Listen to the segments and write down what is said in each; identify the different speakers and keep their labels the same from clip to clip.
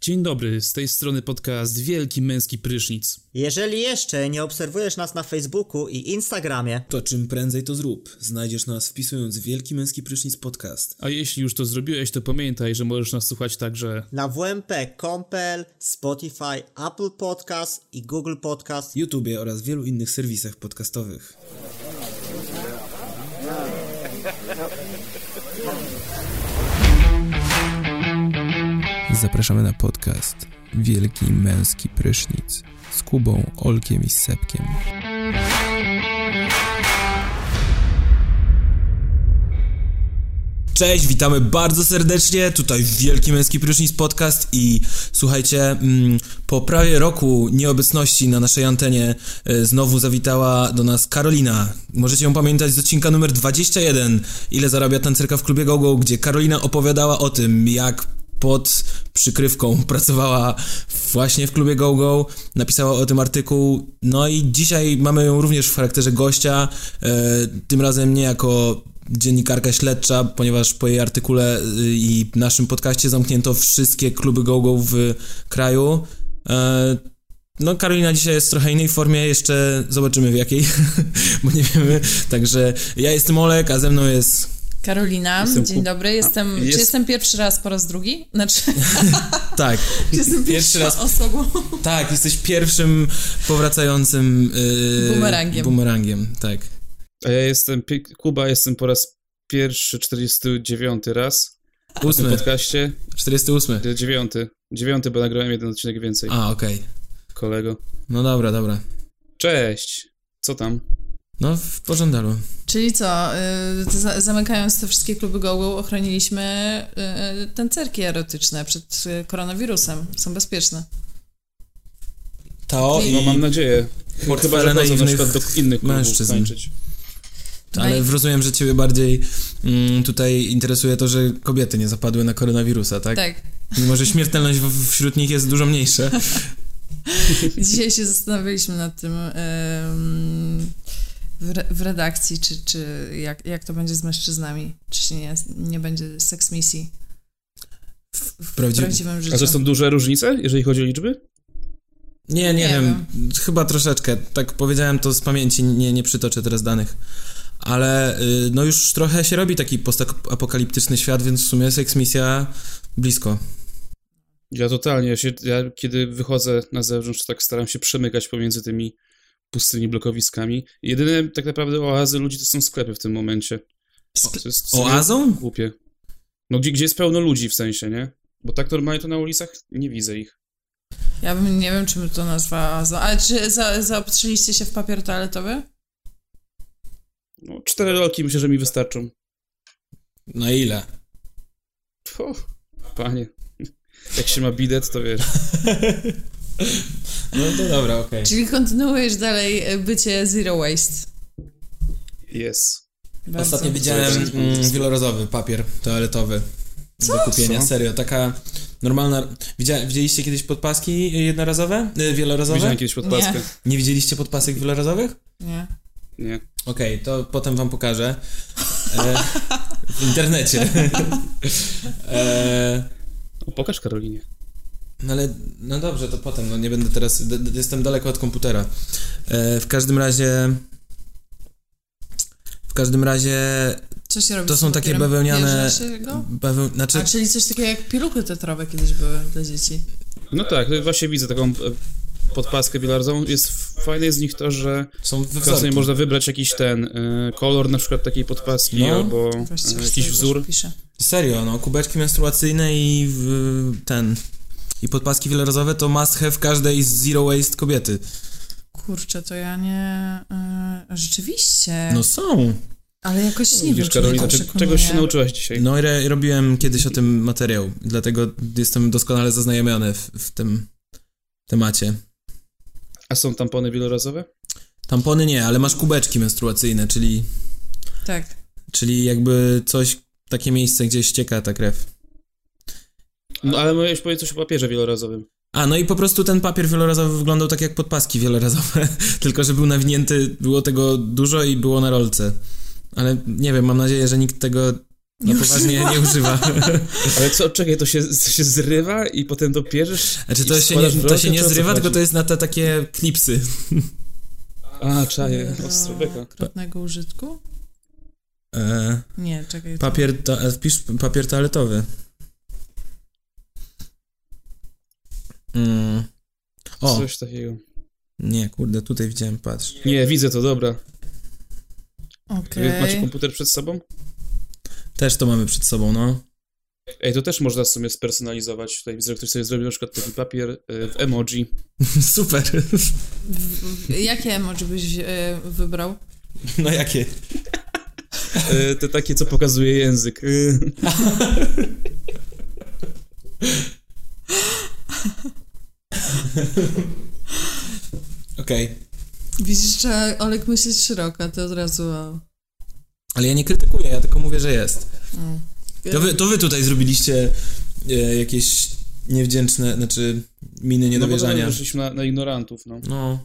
Speaker 1: Dzień dobry, z tej strony podcast Wielki Męski Prysznic.
Speaker 2: Jeżeli jeszcze nie obserwujesz nas na Facebooku i Instagramie,
Speaker 3: To czym prędzej to zrób. Znajdziesz nas wpisując Wielki Męski Prysznic Podcast.
Speaker 1: A jeśli już to zrobiłeś, to pamiętaj, że możesz nas słuchać także...
Speaker 2: na wmp.com.pl, Spotify, Apple Podcast i Google Podcast.
Speaker 3: YouTubie oraz wielu innych serwisach podcastowych.
Speaker 4: Zapraszamy na podcast Wielki Męski Prysznic z Kubą, Olkiem i Sepkiem.
Speaker 3: Cześć, witamy bardzo serdecznie. Tutaj Wielki Męski Prysznic Podcast i słuchajcie, mm, po prawie roku nieobecności na naszej antenie e, znowu zawitała do nas Karolina. Możecie ją pamiętać z odcinka numer 21, ile zarabia tancerka w klubie GoGo, gdzie Karolina opowiadała o tym, jak pod przykrywką pracowała właśnie w klubie GoGo, napisała o tym artykuł. No i dzisiaj mamy ją również w charakterze gościa, e, tym razem nie jako dziennikarka śledcza, ponieważ po jej artykule y, i naszym podcaście zamknięto wszystkie kluby GoGo w kraju. E, no, Karolina dzisiaj jest w trochę innej formie, jeszcze zobaczymy w jakiej, bo nie wiemy. Także ja jestem Olek, a ze mną jest
Speaker 5: Karolina, dzień dobry. Jestem,
Speaker 1: jest-
Speaker 5: Czy jestem pierwszy raz po raz drugi? Znaczy,
Speaker 3: tak.
Speaker 5: czy jestem
Speaker 3: Pierwszy
Speaker 5: pierwszy
Speaker 3: raz.
Speaker 5: raz osobą.
Speaker 3: Tak, jesteś pierwszym powracającym yy,
Speaker 5: Bumerangiem.
Speaker 3: Bumerangiem, tak.
Speaker 1: A ja jestem... Pie- Kuba, jestem po raz pierwszy, 49 raz w tym
Speaker 3: Ósmy,
Speaker 1: podcaście.
Speaker 3: 48.
Speaker 1: Dziewiąty. Dziewiąty, bo nagrałem jeden odcinek więcej,
Speaker 3: A, okej.
Speaker 1: kolego.
Speaker 3: No dobra, dobra.
Speaker 1: Cześć! Co tam?
Speaker 3: No, w pożądalu.
Speaker 5: Czyli co, y, to za- zamykając te wszystkie kluby gołu, ochroniliśmy y, tancerki erotyczne przed y, koronawirusem. Są bezpieczne.
Speaker 3: To
Speaker 1: No mam nadzieję. Chyba, że
Speaker 3: portfele
Speaker 1: chodzą na
Speaker 3: naiwnych
Speaker 1: przykład do innych klubów
Speaker 3: mężczyzn.
Speaker 1: tańczyć.
Speaker 3: Ale
Speaker 5: Naj-
Speaker 3: rozumiem, że ciebie bardziej mm, tutaj interesuje to, że kobiety nie zapadły na koronawirusa, tak?
Speaker 5: Tak.
Speaker 3: Mimo, że śmiertelność w, wśród nich jest dużo mniejsza.
Speaker 5: Dzisiaj się zastanawialiśmy nad tym em, w, re, w redakcji, czy, czy jak, jak to będzie z mężczyznami, czy się nie, nie będzie seks misji w
Speaker 3: Prawdziwy-
Speaker 5: prawdziwym życiu.
Speaker 1: A to są duże różnice, jeżeli chodzi o liczby?
Speaker 3: Nie, nie,
Speaker 5: Nie
Speaker 3: wiem. Chyba troszeczkę. Tak powiedziałem to z pamięci, nie, nie przytoczę teraz danych. Ale y, no już trochę się robi taki postapokaliptyczny świat, więc w sumie seks misja blisko.
Speaker 1: Ja totalnie, ja, się, ja kiedy wychodzę na zewnątrz, to tak staram się przemykać pomiędzy tymi pustymi blokowiskami. Jedyne tak naprawdę oazy ludzi to są sklepy w tym momencie. To jest w sumie
Speaker 3: Oazą?
Speaker 1: Głupie. No gdzie, gdzie jest pełno ludzi w sensie, nie? Bo tak normalnie to na ulicach nie widzę ich.
Speaker 5: Ja bym, nie wiem, czy bym to nazwała. za- Ale czy za, zaopatrzyliście się w papier toaletowy?
Speaker 1: No, cztery rolki myślę, że mi wystarczą.
Speaker 3: Na ile?
Speaker 1: O, panie. Jak się ma bidet, to wiesz.
Speaker 3: No to dobra, okej.
Speaker 5: Czyli kontynuujesz dalej e, bycie zero waste.
Speaker 1: Jest.
Speaker 5: Bardzo.
Speaker 3: Ostatnio widziałem mm, wielorazowy papier toaletowy do kupienia.
Speaker 1: Co?
Speaker 3: Serio, taka normalna... Widzia, widzieliście kiedyś podpaski jednorazowe? Y, wielorazowe?
Speaker 1: Widziałem kiedyś podpaskę.
Speaker 3: Nie widzieliście podpasek wielorazowych?
Speaker 5: Nie.
Speaker 1: Nie.
Speaker 3: Okej, to potem wam pokażę. E, w internecie. E,
Speaker 1: O, pokaż Karolinie.
Speaker 3: no ale, no dobrze, to potem, no nie będę teraz, d- d- jestem daleko od komputera. E, w każdym razie, w każdym razie,
Speaker 5: Co się robi
Speaker 3: To
Speaker 5: z
Speaker 3: są takie
Speaker 5: papierem?
Speaker 3: bawełniane-
Speaker 5: Bierze się go?
Speaker 3: baweł, znaczy,
Speaker 5: A czyli coś takiego jak piluchy tetrowe kiedyś były dla dzieci.
Speaker 1: No tak, właśnie widzę taką e, podpaskę bilarzową. Jest fajne z nich to, że
Speaker 3: są we
Speaker 1: Czasami
Speaker 3: wzorki.
Speaker 1: można wybrać jakiś ten y, kolor na przykład takiej podpaski
Speaker 3: No.
Speaker 1: albo
Speaker 5: Właściwie
Speaker 1: y,
Speaker 5: sobie
Speaker 1: jakiś
Speaker 5: już
Speaker 1: wzór.
Speaker 5: Piszę.
Speaker 3: Serio, no, kubeczki menstruacyjne i w, ten, i podpaski wielorazowe to must have każdej z zero waste kobiety.
Speaker 5: Kurczę, to ja nie... y, rzeczywiście.
Speaker 3: No są.
Speaker 5: Ale jakoś nie
Speaker 1: Widzisz
Speaker 5: wiem, czy mnie
Speaker 1: Karolina,
Speaker 5: to
Speaker 1: czy,
Speaker 5: przekonuje.
Speaker 1: czegoś się nauczyłaś dzisiaj?
Speaker 3: No i re, robiłem kiedyś o tym materiał, dlatego jestem doskonale zaznajomiony w, w tym temacie.
Speaker 1: A są tampony wielorazowe?
Speaker 3: Tampony nie, ale masz kubeczki menstruacyjne, czyli,
Speaker 5: Tak.
Speaker 3: czyli jakby coś, takie miejsce, gdzie ścieka ta krew.
Speaker 1: No ale mówiłeś powiedzieć coś o papierze wielorazowym.
Speaker 3: A, no i po prostu ten papier wielorazowy wyglądał tak jak podpaski wielorazowe, tylko że był nawinięty, było tego dużo i było na rolce. Ale nie wiem, mam nadzieję, że nikt tego No poważnie nie używa.
Speaker 1: Ale co, czekaj, to się, to się zrywa i potem to pierzesz?
Speaker 3: Znaczy
Speaker 1: i
Speaker 3: to się nie,
Speaker 1: wkładasz w
Speaker 3: to
Speaker 1: rączkę,
Speaker 3: się nie
Speaker 1: czy o co
Speaker 3: zrywa, tylko
Speaker 1: chodzi?
Speaker 3: to jest na te takie klipsy.
Speaker 1: A, czaję,
Speaker 5: Do
Speaker 1: ostrobeka.
Speaker 5: Okrutnego użytku?
Speaker 3: E,
Speaker 5: Nie, czekaj. to-
Speaker 3: papier, to, e, wpisz papier toaletowy. Mm. O,
Speaker 1: Coś takiego.
Speaker 3: nie, kurde, tutaj widziałem, patrz.
Speaker 1: Nie, widzę to, dobra. Wy
Speaker 5: Okej.
Speaker 1: Macie komputer przed sobą?
Speaker 3: Też to mamy przed sobą, no.
Speaker 1: Ej, to też można w sumie spersonalizować. Tutaj widzę, że ktoś sobie zrobił na przykład taki papier y, w emoji.
Speaker 3: Super.
Speaker 5: W- w- Jakie emoji byś e, wybrał?
Speaker 3: No jakie?
Speaker 1: Y, te takie, co pokazuje język. Y.
Speaker 3: Okej.
Speaker 5: Widzisz, trzeba Olek myśleć szeroko, to od razu wow.
Speaker 3: Ale ja nie krytykuję, ja tylko mówię, że jest.
Speaker 5: Mm.
Speaker 3: To wy, to wy tutaj zrobiliście e, jakieś niewdzięczne, znaczy miny
Speaker 1: No bo
Speaker 3: niedowierzania.
Speaker 1: to wyszliśmy na, na ignorantów, no.
Speaker 3: No.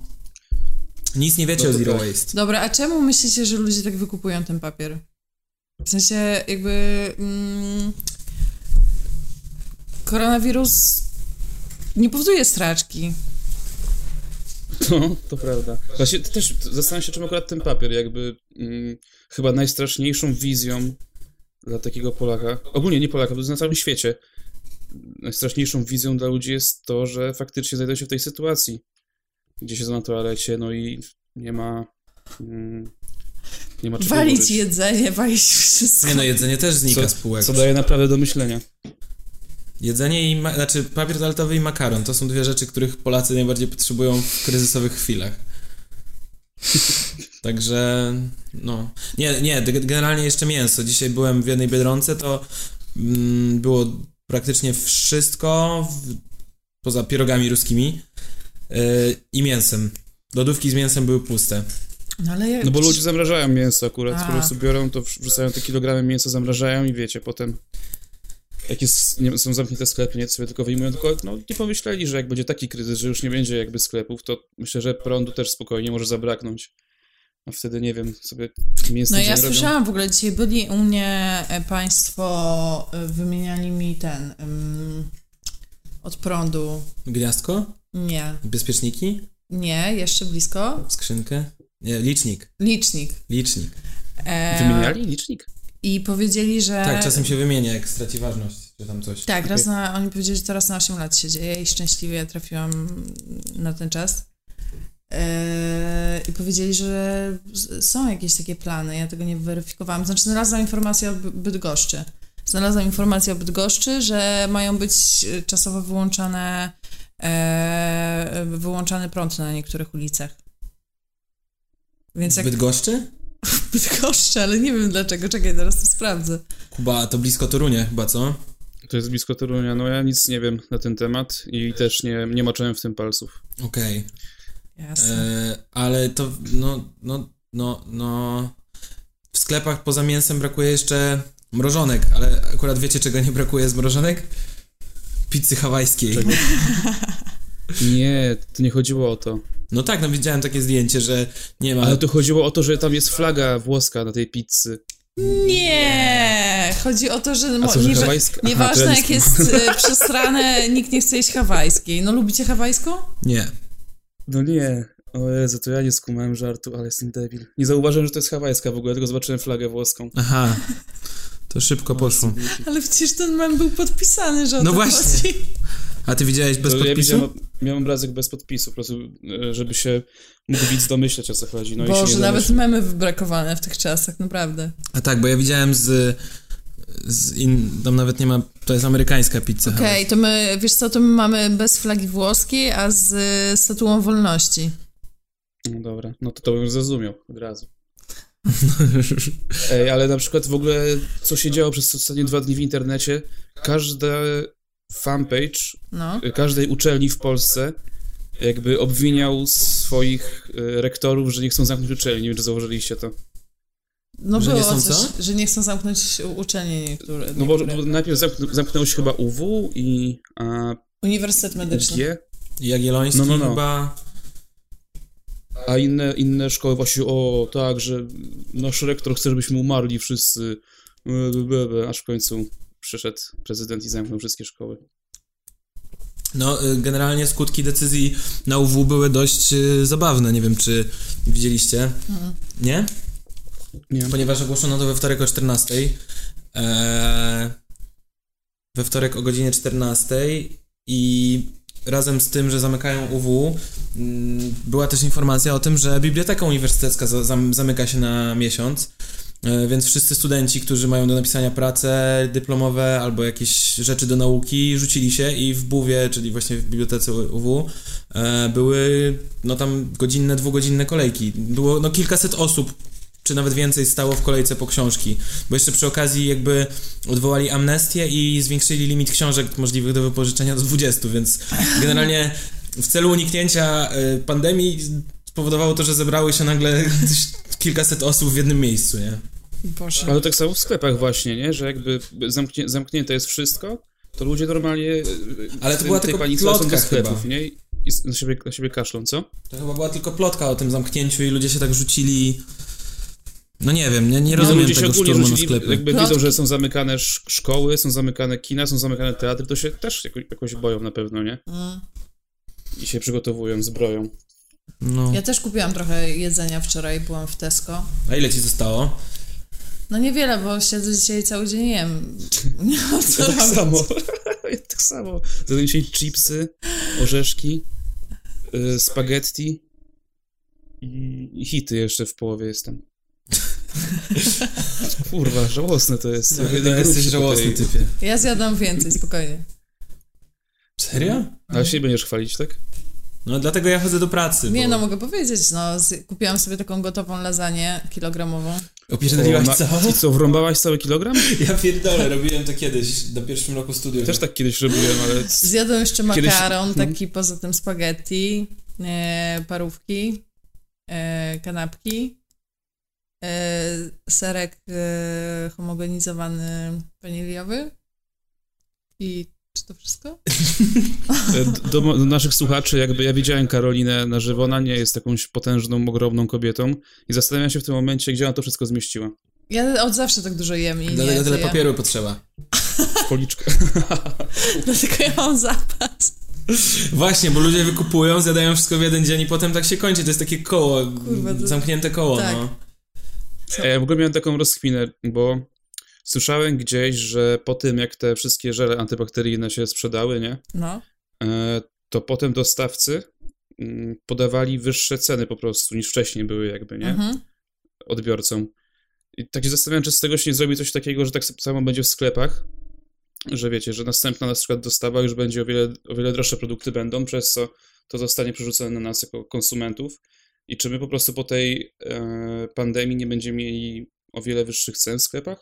Speaker 3: Nic nie wiecie
Speaker 1: No
Speaker 3: o
Speaker 1: to
Speaker 3: Zero
Speaker 1: tak.
Speaker 3: Waste.
Speaker 5: Dobra, a czemu myślicie, że ludzie tak wykupują ten papier? W sensie jakby... Mm, koronawirus nie powoduje straczki.
Speaker 1: Znaczy, No, to prawda. Właśnie to też zastanawiam się, czym akurat ten papier, jakby mm, chyba najstraszniejszą wizją dla takiego Polaka, ogólnie nie Polaka, bo na całym świecie, najstraszniejszą wizją dla ludzi jest to, że faktycznie znajdują się w tej sytuacji, gdzie siedzą na toalecie, no i nie ma... Mm, nie ma czego
Speaker 5: Walić
Speaker 1: użyć.
Speaker 5: jedzenie, walić wszystko.
Speaker 3: Nie no, jedzenie też znika z
Speaker 1: co,
Speaker 3: półek.
Speaker 1: co daje naprawdę do myślenia.
Speaker 3: Jedzenie i, ma- znaczy papier toaletowy i makaron to są dwie rzeczy, których Polacy najbardziej potrzebują w kryzysowych chwilach. Także, no. Nie, nie, g- generalnie jeszcze mięso. Dzisiaj byłem w jednej Biedronce, to mm, było praktycznie wszystko, w, poza pierogami ruskimi yy, i mięsem. Lodówki z mięsem były puste.
Speaker 5: No ale jak...
Speaker 1: No bo ludzie zamrażają mięso akurat,
Speaker 5: A.
Speaker 1: po prostu biorą, to wrzucają te kilogramy mięsa, zamrażają i wiecie, potem jak jest, nie, są zamknięte sklepy, nie, to sobie tylko wyjmują, tylko no, nie pomyśleli, że jak będzie taki kryzys, że już nie będzie jakby sklepów, to myślę, że prądu też spokojnie może zabraknąć. A wtedy, nie wiem, sobie mięso
Speaker 5: No ja
Speaker 1: zarobią.
Speaker 5: słyszałam w ogóle dzisiaj byli u mnie e, państwo e, wymieniali mi ten ym, od prądu.
Speaker 3: Gniazdko?
Speaker 5: Nie,
Speaker 3: Bezpieczniki?
Speaker 5: nie, jeszcze blisko.
Speaker 3: Skrzynkę? Nie, licznik.
Speaker 5: Licznik.
Speaker 3: Licznik.
Speaker 5: E,
Speaker 1: Wymieniali licznik?
Speaker 5: I powiedzieli, że.
Speaker 3: Tak, czasem się wymienia, jak straci ważność, czy tam coś.
Speaker 5: E, Tak, raz na, oni powiedzieli, że to raz na 8 lat się dzieje i szczęśliwie trafiłam na ten czas. E, I powiedzieli, że s- są jakieś takie plany, ja tego nie weryfikowałam. Znaczy, znalazłam informację o By- Bydgoszczy. Znalazłam informację o Bydgoszczy, że mają być e, czasowo wyłączane, e, wyłączany prąd na niektórych ulicach. Więc jak
Speaker 3: Bydgoszczy?
Speaker 5: Bydgoszczy, ale nie wiem dlaczego, czekaj, teraz to sprawdzę.
Speaker 3: Kuba, to blisko Torunia chyba, co?
Speaker 1: To jest blisko Torunia, no ja nic nie wiem na ten temat i też nie, nie maczałem w tym palców.
Speaker 3: Okej.
Speaker 5: Jasne.
Speaker 3: E, Ale to, no, no, no, no... W sklepach poza mięsem brakuje jeszcze mrożonek, ale akurat wiecie, czego nie brakuje z mrożonek? Pizzy hawajskiej.
Speaker 1: Nie, to nie chodziło o to.
Speaker 3: No tak, no widziałem takie zdjęcie, że nie ma...
Speaker 1: Ale to chodziło o to, że tam jest flaga włoska na tej pizzy.
Speaker 5: Nie! Chodzi o to, że, mo-
Speaker 1: co, że
Speaker 5: nie, że
Speaker 1: hawajska? Aha,
Speaker 5: nieważne
Speaker 1: to
Speaker 5: jak jest y, przesrane, nikt nie chce jeść hawajskiej. No lubicie hawajską?
Speaker 3: Nie.
Speaker 1: No nie. O Jezu, to ja nie skumałem żartu, ale jestem debil. Nie zauważyłem, że to jest hawajska w ogóle, tylko zobaczyłem flagę włoską.
Speaker 3: Aha. To szybko
Speaker 1: No,
Speaker 3: poszło.
Speaker 5: Ale przecież ten mem był podpisany, że o
Speaker 3: No
Speaker 5: to
Speaker 3: właśnie.
Speaker 5: chodzi.
Speaker 3: A ty widziałeś bez
Speaker 1: to ja
Speaker 3: podpisu?
Speaker 1: widziałem, miałem obrazek bez podpisu, po prostu, e, żeby się mógł widz domyśleć, o co chodzi. No i się
Speaker 5: Boże,
Speaker 1: nie No
Speaker 5: nawet
Speaker 1: domyślił.
Speaker 5: memy wybrakowane w tych czasach, naprawdę.
Speaker 3: A tak, bo ja widziałem z... z in, tam nawet nie ma... To jest amerykańska pizza
Speaker 5: Okej,
Speaker 3: hawajska.
Speaker 5: to my, wiesz co, to my mamy bez flagi włoskiej, a z y, statuą wolności.
Speaker 1: No dobra, no to to bym zrozumiał od razu. Ej, ale na przykład w ogóle, co się działo przez ostatnie dwa dni w internecie, każda fanpage e,
Speaker 5: No.
Speaker 1: każdej uczelni w Polsce jakby obwiniał swoich e, rektorów, że nie chcą zamknąć uczelni. Nie wiem, czy zauważyliście to.
Speaker 5: No
Speaker 3: Że nie
Speaker 5: było
Speaker 3: są
Speaker 5: coś,
Speaker 3: co?
Speaker 5: że nie chcą zamknąć u- uczelni niektóre.
Speaker 1: No bo,
Speaker 5: niektóre.
Speaker 1: bo najpierw zamknął, zamknęło się chyba UW i a,
Speaker 5: Uniwersytet medyczny.
Speaker 1: UG,
Speaker 3: Jagielloński
Speaker 1: No, no, no.
Speaker 3: chyba...
Speaker 1: a inne, inne szkoły właśnie, o tak, że nasz rektor chce, żebyśmy umarli wszyscy, aż w końcu przyszedł prezydent i zamknął wszystkie szkoły.
Speaker 3: No, y, generalnie skutki decyzji na UW były dość y, zabawne. Nie wiem, czy widzieliście. Nie?
Speaker 1: Nie.
Speaker 3: Ponieważ ogłoszono to we wtorek o 14.00. Eee, we wtorek o godzinie 14.00 i razem z tym, że zamykają UW, mm, była też informacja o tym, że Biblioteka Uniwersytecka za- zam- zamyka się na miesiąc. E, Więc wszyscy studenci, którzy mają do napisania prace dyplomowe albo jakieś rzeczy do nauki, rzucili się i w Buwie, czyli właśnie w bibliotece UW, e, były no tam godzinne, dwugodzinne kolejki. Było no kilkaset osób, czy nawet więcej stało w kolejce po książki. Bo jeszcze przy okazji jakby odwołali amnestię i zwiększyli limit książek możliwych do wypożyczenia do 20, więc generalnie w celu uniknięcia e, pandemii spowodowało to, że zebrały się nagle kilkaset osób w jednym miejscu, nie?
Speaker 5: Boże.
Speaker 1: Ale tak samo w sklepach właśnie, nie? Że jakby zamknie, zamknięte jest wszystko, to ludzie normalnie... e,
Speaker 3: Ale
Speaker 1: w
Speaker 3: to była
Speaker 1: tej
Speaker 3: tylko
Speaker 1: panice są do
Speaker 3: plotka
Speaker 1: sklepów,
Speaker 3: chyba.
Speaker 1: nie? I s- na siebie, na siebie kaszlą, co?
Speaker 3: To chyba była tylko plotka o tym zamknięciu i ludzie się tak rzucili. No nie wiem, nie, nie
Speaker 1: Nie, no,
Speaker 3: rozumiem
Speaker 1: ludzie się
Speaker 3: tego
Speaker 1: ogólnie
Speaker 3: szturmu na
Speaker 1: rzucili,
Speaker 3: sklepy.
Speaker 1: jakby
Speaker 5: Plotki.
Speaker 1: widzą, że są zamykane sz- szkoły, są zamykane kina, są zamykane teatry, to się też jakoś, jakoś boją na pewno, nie? I się przygotowują, zbroją.
Speaker 3: No.
Speaker 5: Ja też kupiłam trochę jedzenia wczoraj, byłam w Tesco.
Speaker 3: A ile ci zostało?
Speaker 5: No niewiele, bo siedzę dzisiaj cały dzień i jem. Nie mam co
Speaker 1: tak
Speaker 5: robić.
Speaker 1: samo. Ja tak samo. Zadaję się chipsy, orzeszki, y, spaghetti i, i hity jeszcze w połowie jestem. Kurwa, żałosne to jest.
Speaker 3: No,
Speaker 1: Jeden
Speaker 3: jesteś
Speaker 1: grubszy
Speaker 3: żałosny
Speaker 1: tutaj.
Speaker 3: typie.
Speaker 5: Ja zjadam więcej, spokojnie.
Speaker 3: Serio?
Speaker 1: Ale się nie będziesz chwalić, tak?
Speaker 3: No dlatego ja chodzę do pracy.
Speaker 5: Nie
Speaker 3: bo...
Speaker 5: no, mogę powiedzieć, no, z, kupiłam sobie taką gotową lasagne kilogramową.
Speaker 3: Opierdoliłaś
Speaker 1: O, na-
Speaker 3: całą?
Speaker 1: I co, wrąbałaś cały kilogram?
Speaker 3: Ja pierdolę, robiłem to kiedyś, na pierwszym roku studiów.
Speaker 1: Też tak kiedyś robiłem, ale...
Speaker 5: Zjadłem jeszcze
Speaker 1: Kiedyś- Mhm.
Speaker 5: makaron, taki poza tym spaghetti, e, parówki, e, kanapki, e, serek e, homogenizowany waniliowy i czy to wszystko?
Speaker 1: E, Do, mo- do naszych słuchaczy, jakby ja widziałem Karolinę na żywo, ona nie jest jakąś potężną, ogromną kobietą i zastanawiam się w tym momencie, gdzie ona to wszystko zmieściła.
Speaker 5: Ja od zawsze tak dużo jem i nie
Speaker 3: Dlatego tyle
Speaker 5: jedzę.
Speaker 3: papieru potrzeba.
Speaker 1: W policzkę.
Speaker 5: Dlatego ja mam zapas.
Speaker 3: Właśnie, bo ludzie wykupują, zjadają wszystko w jeden dzień i potem tak się kończy. To jest takie koło,
Speaker 5: Kurwa, to-
Speaker 3: zamknięte koło,
Speaker 5: tak.
Speaker 3: no.
Speaker 1: E, Ja w ogóle miałem taką rozchwinę, bo słyszałem gdzieś, że po tym, jak te wszystkie żele antybakteryjne się sprzedały, nie,
Speaker 5: No.
Speaker 1: e, to potem dostawcy mm, podawali wyższe ceny po prostu niż wcześniej były jakby, nie,
Speaker 5: Mhm.
Speaker 1: odbiorcom. I tak się zastanawiam, czy z tego się nie zrobi coś takiego, że tak samo będzie w sklepach, że wiecie, że następna na przykład dostawa już będzie o wiele, o wiele droższe produkty będą, przez co to zostanie przerzucone na nas jako konsumentów. I czy my po prostu po tej e, pandemii nie będziemy mieli o wiele wyższych cen w sklepach?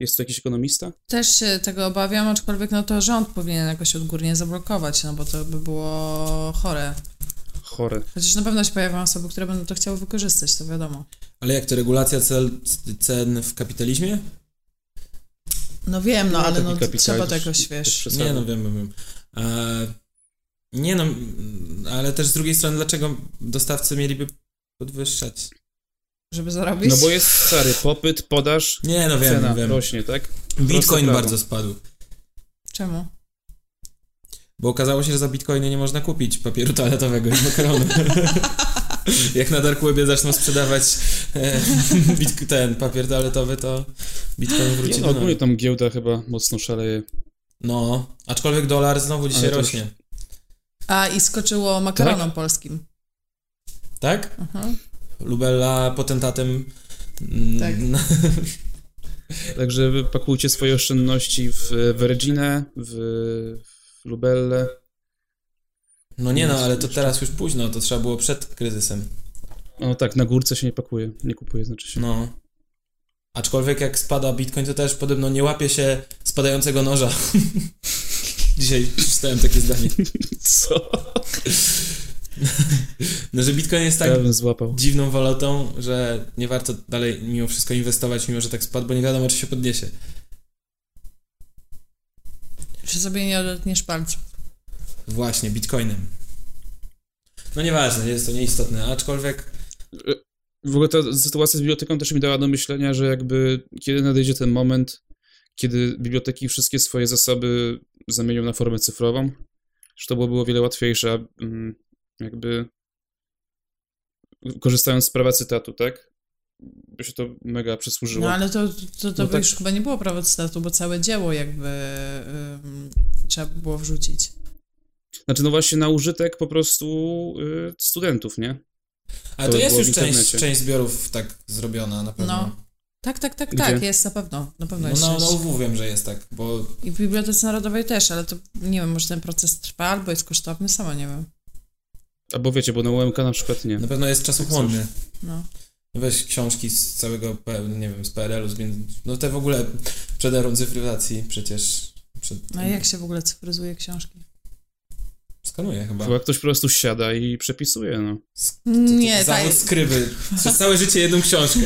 Speaker 1: Jest tu jakiś ekonomista?
Speaker 5: Też się tego obawiam, aczkolwiek no to rząd powinien jakoś odgórnie zablokować, no bo to by było chore.
Speaker 1: Chore.
Speaker 5: Chociaż na pewno się pojawią osoby, które będą to chciały wykorzystać, to wiadomo.
Speaker 3: Ale jak to, regulacja cel, c- cen w kapitalizmie?
Speaker 5: No wiem, no, ale
Speaker 1: taki
Speaker 5: no,
Speaker 1: kapitalizm
Speaker 5: trzeba to jakoś, wiesz.
Speaker 1: przesadzał.
Speaker 3: Nie no, wiem, wiem, wiem. E, nie no, mm, ale też z drugiej strony, dlaczego dostawcy mieliby podwyższać?
Speaker 5: żeby zarobić.
Speaker 1: No bo jest, stary, popyt, podaż,
Speaker 3: Nie no, wiem,
Speaker 1: cena
Speaker 3: wiem.
Speaker 1: rośnie, tak? Proste
Speaker 3: Bitcoin
Speaker 1: prawo.
Speaker 3: bardzo spadł,
Speaker 5: Czemu?
Speaker 3: bo okazało się, że za bitcoiny nie można kupić papieru toaletowego i makaronu. jak na dark webie zaczną sprzedawać e, bit- ten papier toaletowy, to bitcoin wróci
Speaker 1: Nie, no,
Speaker 3: do normy.
Speaker 1: ogólnie tam giełda chyba mocno szaleje.
Speaker 3: No, aczkolwiek dolar znowu dzisiaj
Speaker 1: Ale to już-
Speaker 3: rośnie.
Speaker 5: A i skoczyło makaronom polskim.
Speaker 3: Tak?
Speaker 5: Mhm.
Speaker 3: Lubella potentatem. mm,
Speaker 5: Tak.
Speaker 3: na-
Speaker 1: Także pakujcie swoje oszczędności w Virginę, w, w Lubelle.
Speaker 3: No nie no, ale to teraz już późno, to trzeba było przed kryzysem.
Speaker 1: No tak, na górce się nie pakuje, nie kupuje, znaczy się.
Speaker 3: No. Aczkolwiek jak spada bitcoin, to też podobno nie łapie się spadającego noża. Dzisiaj czytałem takie zdanie.
Speaker 1: Co?
Speaker 3: No, że bitcoin jest tak
Speaker 1: Ja bym złapał.
Speaker 3: dziwną walutą, że nie warto dalej mimo wszystko inwestować, mimo że tak spadł, bo nie wiadomo, czy się podniesie.
Speaker 5: Czy sobie nie odetniesz palców?
Speaker 3: Właśnie, bitcoinem. No nieważne, jest to nieistotne, aczkolwiek
Speaker 1: w ogóle ta sytuacja z biblioteką też mi dała do myślenia, że jakby kiedy nadejdzie ten moment, kiedy biblioteki wszystkie swoje zasoby zamienią na formę cyfrową, że to byłoby o wiele łatwiejsze, a, mm, jakby korzystając z prawa cytatu, tak? By się to mega przysłużyło.
Speaker 5: No ale to, to, to
Speaker 1: No
Speaker 5: by
Speaker 1: tak.
Speaker 5: już chyba nie było prawa cytatu, bo całe dzieło jakby ym, trzeba by było wrzucić.
Speaker 1: Znaczy, no właśnie na użytek po prostu y, studentów, nie?
Speaker 3: Ale to
Speaker 1: To
Speaker 3: jest
Speaker 1: było
Speaker 3: już
Speaker 1: w
Speaker 3: część,
Speaker 1: internecie.
Speaker 3: część zbiorów tak zrobiona na pewno.
Speaker 5: No. Tak, tak, tak,
Speaker 1: Gdzie?
Speaker 5: tak, jest na pewno. Na pewno
Speaker 3: No,
Speaker 5: jest
Speaker 3: na, na
Speaker 5: część.
Speaker 3: UW wiem, że jest tak, bo
Speaker 5: I w Bibliotece Narodowej też, ale to nie wiem, może ten proces trwa albo jest kosztowny, sama nie wiem.
Speaker 1: Albo wiecie, bo na UMK na przykład nie.
Speaker 3: na pewno jest czasochłonny.
Speaker 5: No.
Speaker 3: Weź książki z całego, P- nie wiem, z PRL-u, z między- no te w ogóle przed erą cyfryzacji przecież. Przed,
Speaker 5: A No jak się w ogóle cyfryzuje książki?
Speaker 3: Skanuje chyba.
Speaker 1: Chyba ktoś po prostu siada i przepisuje, no.
Speaker 3: To- to
Speaker 5: Nie, tak.
Speaker 3: Zawód skrywy. Przez całe życie jedną książkę.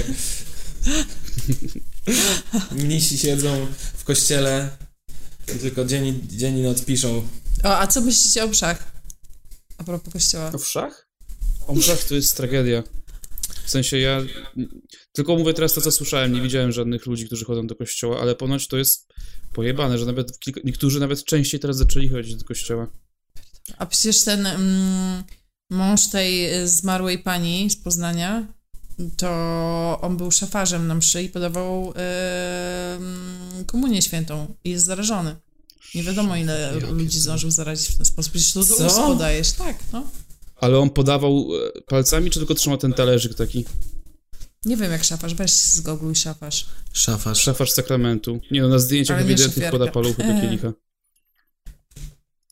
Speaker 3: Mnisi siedzą w kościele i tylko dzień, i- dzień i noc piszą.
Speaker 5: O, a co myślicie o mszach? A propos kościoła.
Speaker 1: A w szach? O mszach to jest tragedia. W sensie ja tylko mówię teraz to, co słyszałem, nie widziałem żadnych ludzi, którzy chodzą do kościoła, ale ponoć to jest pojebane, że nawet kilka, niektórzy nawet częściej teraz zaczęli chodzić do kościoła.
Speaker 5: A przecież ten mm, mąż tej y, zmarłej pani z Poznania, to on był szafarzem na mszy i podawał y, mm, komunię świętą i jest zarażony. Nie wiadomo, ile ludzi zdążył zarazić w ten sposób. Przecież to
Speaker 3: Co?
Speaker 5: do ust podajesz, tak, no.
Speaker 1: Ale on podawał e, palcami, czy tylko trzymał ten talerzyk taki?
Speaker 5: Nie wiem, jak szafarz, weź z Google szafarz.
Speaker 3: Szafarz.
Speaker 1: Szafarz sakramentu. Nie no, na zdjęciach
Speaker 5: Ale nie
Speaker 1: ewidentnie
Speaker 5: szefiarka. Eee.
Speaker 1: wkłada paluchy do kielicha.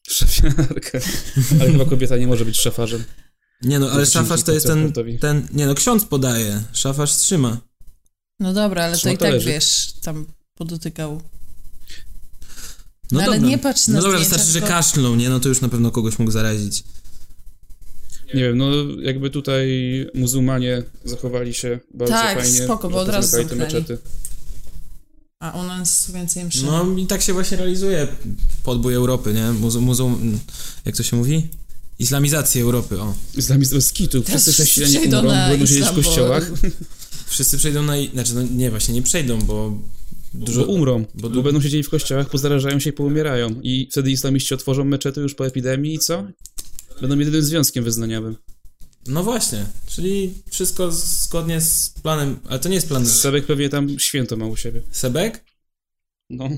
Speaker 1: Szefiarka. Ale chyba kobieta nie może być szafarzem.
Speaker 3: Nie no, ale
Speaker 1: Dzięki
Speaker 3: szafarz to jest ten,
Speaker 1: koncertantowi.
Speaker 3: ten... Nie no, ksiądz podaje, szafarz trzyma.
Speaker 5: No dobra, ale to
Speaker 1: Trzyma
Speaker 5: i tak,
Speaker 1: talerzyk.
Speaker 5: wiesz, tam podotykał.
Speaker 3: No
Speaker 5: No ale
Speaker 3: dobra.
Speaker 5: nie patrz na
Speaker 3: No dobra,
Speaker 5: zdjęcia,
Speaker 3: wystarczy, że
Speaker 5: tylko-
Speaker 3: kaszlnął, nie? No to już na pewno kogoś mógł zarazić.
Speaker 1: Nie wiem, no jakby tutaj muzułmanie zachowali się bardzo
Speaker 5: Tak,
Speaker 1: fajnie.
Speaker 5: spoko, bo
Speaker 1: że
Speaker 5: od razu
Speaker 1: pozamykali te
Speaker 5: zamknęli.
Speaker 1: meczety.
Speaker 5: A u nas więcej mszy.
Speaker 3: No i tak się właśnie realizuje podbój Europy, nie? Muzu, muzu, jak to się mówi? Islamizacji Europy, o.
Speaker 1: Islamizm z kitu. Wszyscy
Speaker 5: wszyscy
Speaker 1: chrześcijanie
Speaker 5: przejdą
Speaker 1: umrą,
Speaker 5: na
Speaker 1: będą siedzieć
Speaker 5: islam,
Speaker 1: w
Speaker 5: bo-
Speaker 1: kościołach,
Speaker 3: Wszyscy przejdą na... i- Znaczy, no nie, właśnie nie przejdą, bo...
Speaker 1: bo umrą,
Speaker 3: bo
Speaker 1: bo,
Speaker 3: du-
Speaker 1: będą siedzieli w kościołach, pozarażają się i poumierają. I wtedy islamiści otworzą meczety już po epidemii i co? Będą jedynym związkiem wyznaniowym.
Speaker 3: No właśnie, czyli wszystko zgodnie z planem, ale to nie jest plan
Speaker 1: Sebek pewnie tam święto ma u siebie.
Speaker 3: Sebek?
Speaker 1: No,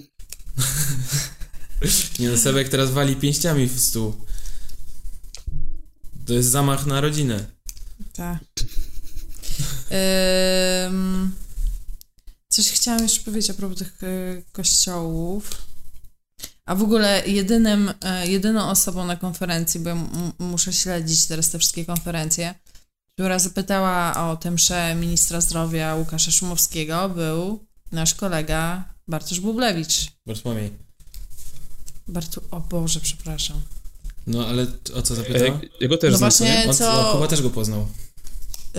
Speaker 3: Nie no, Sebek teraz wali pięściami w stół. To jest zamach na rodzinę.
Speaker 5: Tak. Ym, coś chciałam jeszcze powiedzieć a propos tych y, kościołów. A w ogóle jedynym, y, jedyną osobą na konferencji, bo ja mu- muszę śledzić teraz te wszystkie konferencje, która zapytała o tę mszę ministra zdrowia Łukasza Szumowskiego, był nasz kolega Bartosz Bublewicz.
Speaker 3: Bartłomiej.
Speaker 5: Bartu, o Boże, przepraszam.
Speaker 3: No ale t- o co
Speaker 1: a
Speaker 3: zapytał?
Speaker 1: ja, ja go też
Speaker 5: No
Speaker 1: znam,
Speaker 5: właśnie-
Speaker 1: nie?
Speaker 3: On,
Speaker 5: co-
Speaker 3: no, Kuba też go poznał.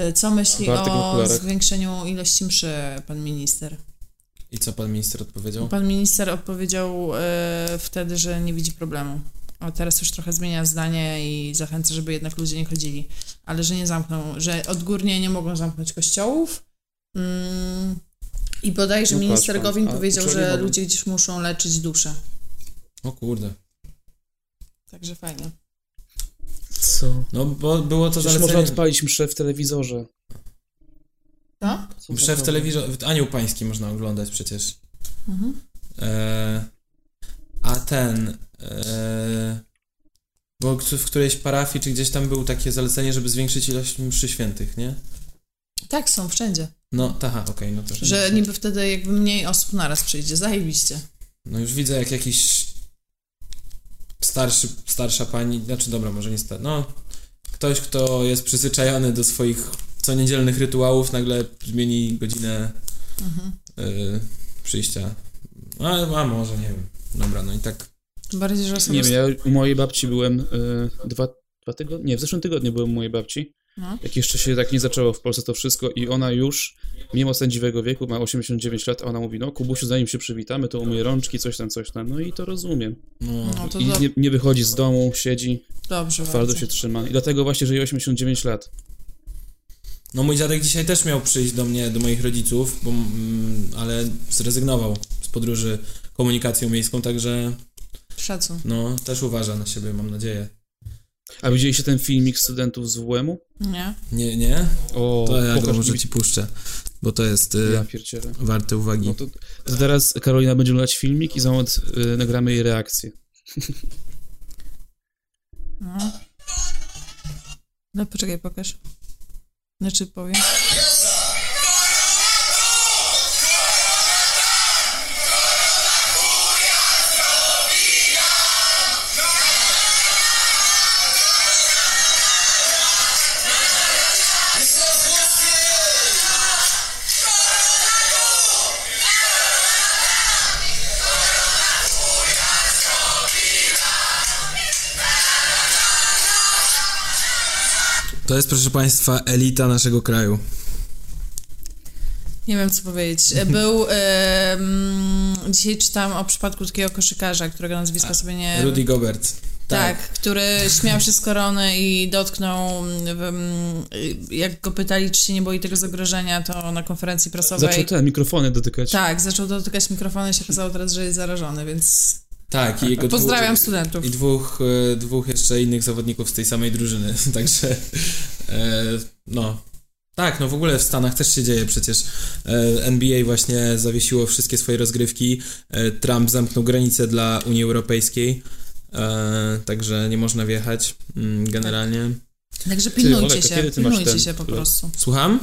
Speaker 5: Y, Co myśli
Speaker 1: Bartek w
Speaker 5: o
Speaker 1: okularach.
Speaker 5: zwiększeniu ilości mszy pan minister?
Speaker 3: I co pan minister odpowiedział?
Speaker 5: Pan minister odpowiedział e, wtedy, że nie widzi problemu. A teraz już trochę zmienia zdanie i zachęca, żeby jednak ludzie nie chodzili, ale że nie zamkną, że odgórnie nie mogą zamknąć kościołów. Mm, I bodajże
Speaker 1: No patrz
Speaker 5: minister
Speaker 1: pan,
Speaker 5: Gowin
Speaker 1: a
Speaker 5: powiedział,
Speaker 1: uczelnie
Speaker 5: że
Speaker 1: mogą.
Speaker 5: ludzie gdzieś muszą leczyć duszę.
Speaker 3: O kurde.
Speaker 5: Także fajnie.
Speaker 1: Co?
Speaker 3: No bo było to
Speaker 1: Przecież można
Speaker 3: zalecenie...
Speaker 1: odpalić mszę w telewizorze.
Speaker 5: No?
Speaker 3: Mszę w telewizorze... Anioł Pański można oglądać przecież.
Speaker 5: Mhm.
Speaker 3: E, a ten. E, bo k- w którejś parafii czy gdzieś tam było takie zalecenie, żeby zwiększyć ilość mszy świętych, nie?
Speaker 5: Tak, są wszędzie.
Speaker 3: No, taha, okej, no to że.
Speaker 5: Że niby wtedy jakby mniej osób naraz przyjdzie. Zajebiście.
Speaker 3: No już widzę, jak jakiś starszy, starsza pani, znaczy dobra, może nie star, no ktoś, kto jest przyzwyczajony do swoich coniedzielnych rytuałów, nagle zmieni godzinę
Speaker 5: Mhm.
Speaker 3: y, przyjścia. No, A, a może, nie wiem. Dobra, no i tak
Speaker 5: Tym Bardziej, że osoby...
Speaker 1: Nie wiem, ja u mojej babci byłem y, dwa, dwa tygodnie, nie, w zeszłym tygodniu byłem u mojej babci.
Speaker 5: No.
Speaker 1: Jak jeszcze się tak nie zaczęło w Polsce to wszystko i ona już, mimo sędziwego wieku, ma 89 lat, a ona mówi, no Kubusiu, zanim się przywitamy, to umyj rączki, coś tam, coś tam. No i to rozumiem.
Speaker 3: no,
Speaker 5: No to
Speaker 1: I
Speaker 5: do...
Speaker 1: nie, nie wychodzi z domu, siedzi,
Speaker 5: dobrze
Speaker 1: twardo
Speaker 5: bardzo.
Speaker 1: się trzyma. I dlatego właśnie żyje 89 lat.
Speaker 3: No mój dziadek dzisiaj też miał przyjść do mnie, do moich rodziców, bo, mm, ale zrezygnował z podróży komunikacją miejską, także
Speaker 5: Szacun.
Speaker 3: no też uważa na siebie, mam nadzieję.
Speaker 1: A widzieliście ten filmik studentów z WM-u?
Speaker 5: Nie?
Speaker 3: Nie, nie?
Speaker 1: O,
Speaker 3: To ja go
Speaker 1: pokaż
Speaker 3: może
Speaker 1: mi-
Speaker 3: ci puszczę, bo to jest y,
Speaker 1: Ja pierdzielę.
Speaker 3: warte uwagi.
Speaker 1: No to, to teraz Karolina będzie oglądać filmik i za moment y, nagramy jej reakcję.
Speaker 5: No. No poczekaj, pokaż. Znaczy powiem.
Speaker 3: To jest, proszę Państwa, elita naszego kraju.
Speaker 5: Nie wiem, co powiedzieć. Był... E, mm, dzisiaj czytałam o przypadku takiego koszykarza, którego nazwiska sobie nie...
Speaker 3: Rudy Gobert.
Speaker 5: Tak, który śmiał się z korony i dotknął, mm, mm, jak go pytali, czy się nie boi tego zagrożenia, to na konferencji prasowej...
Speaker 1: Zaczął Znaczy te mikrofony dotykać.
Speaker 5: Tak, zaczął dotykać mikrofonu i się okazało teraz, że jest zarażony, więc
Speaker 3: Tak, i jego
Speaker 5: pozdrawiam
Speaker 3: dwóch,
Speaker 5: studentów.
Speaker 3: I dwóch, y, dwóch jeszcze innych zawodników z tej samej drużyny, także e, no. Tak, no w ogóle w Stanach też się dzieje przecież. E, NBA właśnie zawiesiło wszystkie swoje rozgrywki. E, Trump zamknął granice dla Unii Europejskiej, e, także nie można wjechać mm, generalnie.
Speaker 5: Także pilnujcie
Speaker 1: Olek, a
Speaker 5: się,
Speaker 1: kiedy ty masz
Speaker 5: pilnujcie
Speaker 1: ten
Speaker 5: się po
Speaker 1: lot?
Speaker 5: prostu.
Speaker 3: Słucham?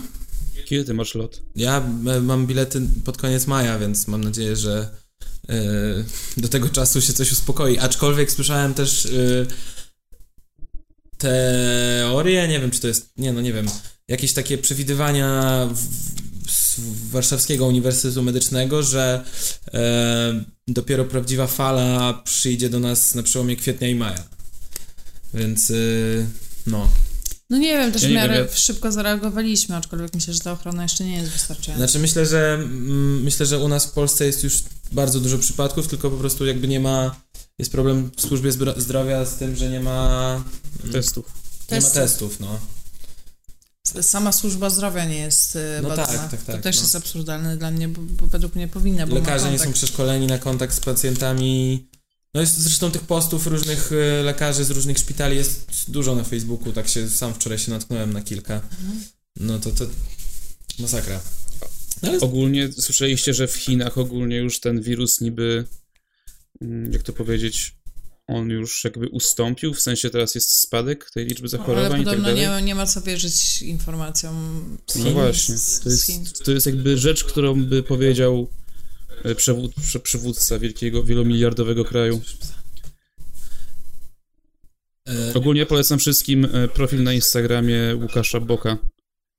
Speaker 1: Kiedy ty masz lot?
Speaker 3: Ja e, mam bilety pod koniec maja, więc mam nadzieję, że e, do tego czasu się coś uspokoi. Aczkolwiek słyszałem też e, teorie, nie wiem czy to jest, nie no nie wiem, jakieś takie przewidywania w, z Warszawskiego Uniwersytetu Medycznego, że e, dopiero prawdziwa fala przyjdzie do nas na przełomie kwietnia i maja. Więc e, no.
Speaker 5: No nie wiem, też
Speaker 1: Ja
Speaker 5: w
Speaker 1: nie
Speaker 5: miarę
Speaker 1: wiem, ja-
Speaker 5: szybko zareagowaliśmy, aczkolwiek myślę, że ta ochrona jeszcze nie jest wystarczająca.
Speaker 3: Znaczy myślę, że mm, myślę, że u nas w Polsce jest już bardzo dużo przypadków, tylko po prostu jakby nie ma jest problem w służbie zbra- zdrowia z tym, że nie ma mm,
Speaker 1: Testów.
Speaker 3: nie ma
Speaker 5: Testów.
Speaker 3: testów, no.
Speaker 5: Sama służba zdrowia nie jest
Speaker 3: No
Speaker 5: no badana.
Speaker 3: tak, tak, tak,
Speaker 5: to też
Speaker 3: no.
Speaker 5: jest absurdalne dla mnie, bo, bo według mnie powinna, bo
Speaker 3: Lekarze
Speaker 5: ma
Speaker 3: nie są
Speaker 5: kontakt.
Speaker 3: przeszkoleni na kontakt z pacjentami. No jest zresztą tych postów różnych y, lekarzy z różnych szpitali jest dużo na Facebooku, tak się sam wczoraj się natknąłem na kilka. No to to masakra.
Speaker 1: Ogólnie słyszeliście, że w Chinach ogólnie już ten wirus niby, mm, jak to powiedzieć, on już jakby ustąpił, w sensie teraz jest spadek tej liczby
Speaker 5: No, Ale
Speaker 1: zachorowań i tak
Speaker 5: podobno
Speaker 1: dalej.
Speaker 5: nie, nie ma co wierzyć informacjom z
Speaker 1: No
Speaker 5: Chin,
Speaker 1: właśnie,
Speaker 5: z,
Speaker 1: to
Speaker 5: z Chin.
Speaker 1: jest, to jest jakby rzecz, którą by powiedział e, przewód, prze, przywódca wielkiego, wielomiliardowego kraju.
Speaker 3: E,
Speaker 1: Ogólnie polecam wszystkim e, profil na Instagramie Łukasza Boka.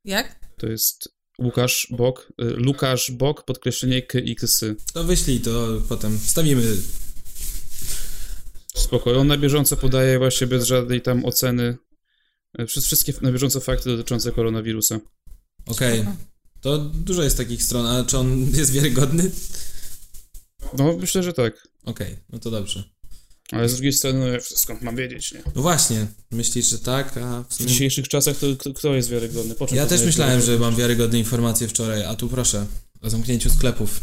Speaker 5: Jak?
Speaker 1: To jest Łukasz Bok, e, Lukasz Bok, podkreślenie k i ksy.
Speaker 3: to wyślij to potem. Wstawimy
Speaker 1: Spoko. On na bieżąco podaje właśnie bez żadnej tam oceny e, przez wszystkie na bieżąco fakty dotyczące koronawirusa.
Speaker 3: Okej. To dużo jest takich stron, a czy on jest wiarygodny?
Speaker 1: No, myślę, że tak.
Speaker 3: Okej, no to dobrze.
Speaker 1: Ale z drugiej strony, no, jak- skąd mam wiedzieć, nie?
Speaker 3: No właśnie, myślisz, że tak, a w
Speaker 1: W
Speaker 3: sumie...
Speaker 1: dzisiejszych czasach to kto, kto jest wiarygodny? Po czym
Speaker 3: Ja też
Speaker 1: poznajesz
Speaker 3: myślałem,
Speaker 1: wiarygodny?
Speaker 3: że mam wiarygodne informacje wczoraj, a tu proszę, o zamknięciu sklepów.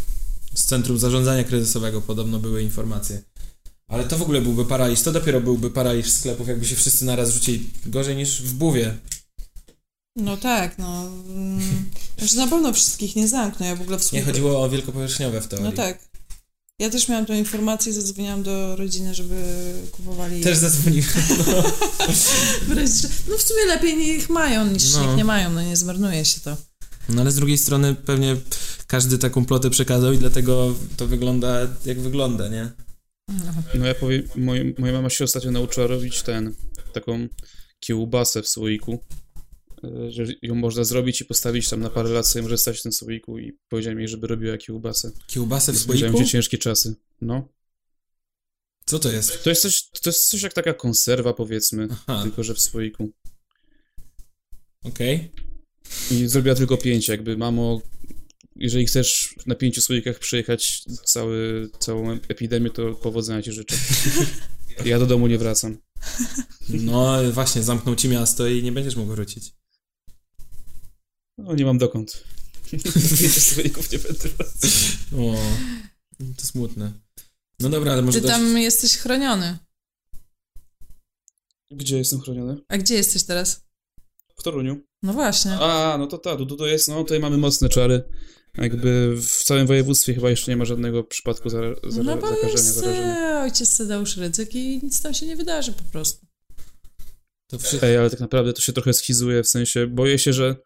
Speaker 3: Z Centrum Zarządzania Kryzysowego podobno były informacje. Ale to w ogóle byłby paraliż, to dopiero byłby paraliż sklepów, jakby się wszyscy naraz rzucili. Gorzej niż w buwie.
Speaker 5: No tak, no. mm, Znaczy na pewno wszystkich nie zamkną, ja w ogóle w
Speaker 3: Nie chodziło o wielkopowierzchniowe w teorii.
Speaker 5: No tak. Ja też miałam tą informację, zadzwoniłam do rodziny, żeby kupowali.
Speaker 3: Też zadzwoniłem.
Speaker 5: Wreszcie- No w sumie lepiej niech mają niż
Speaker 3: No.
Speaker 5: niech nie mają, no nie zmarnuje się to.
Speaker 3: No ale z drugiej strony pewnie każdy taką plotę przekazał i dlatego to wygląda jak wygląda, nie?
Speaker 1: No ja powiem, moje, moja mama się ostatnio nauczyła robić ten, taką kiełbasę w słoiku, e, że ją można zrobić i postawić tam na parę lat sobie może stać w tym słoiku i powiedziałem jej, żeby robiła kiełbasę.
Speaker 3: Kiełbasę w
Speaker 1: Powiedziałem,
Speaker 3: słoiku?
Speaker 1: gdzie ciężkie czasy. No.
Speaker 3: Co to jest?
Speaker 1: To jest coś, to jest coś jak taka konserwa powiedzmy,
Speaker 3: Aha,
Speaker 1: tylko że w słoiku.
Speaker 3: okej.
Speaker 1: I zrobiła tylko pięć, jakby mamo, jeżeli chcesz na pięciu słoikach przejechać cały, całą epidemię, to powodzenia ci życzę. Ja do domu nie wracam.
Speaker 3: No właśnie, zamknął ci miasto i nie będziesz mógł wrócić.
Speaker 1: No nie mam dokąd. Wiecie, z wyników nie będę wracał.
Speaker 3: O, to smutne. No dobra, ale może
Speaker 5: Ty tam
Speaker 3: dać...
Speaker 5: jesteś chroniony.
Speaker 1: Gdzie jestem chroniony?
Speaker 5: A gdzie jesteś teraz?
Speaker 1: W Toruniu.
Speaker 5: No właśnie.
Speaker 1: A, no to tak, tu to jest, no tutaj mamy mocne czary. Jakby w całym województwie chyba jeszcze nie ma żadnego przypadku zara- zara-
Speaker 5: No bo
Speaker 1: zakażenia,
Speaker 5: jest
Speaker 1: zarażenia.
Speaker 5: e, ojciec Sedeusz Rycyk i nic tam się nie wydarzy po prostu.
Speaker 3: To wszy...
Speaker 1: Ej, ale tak naprawdę to się trochę schizuje, w sensie boję się, że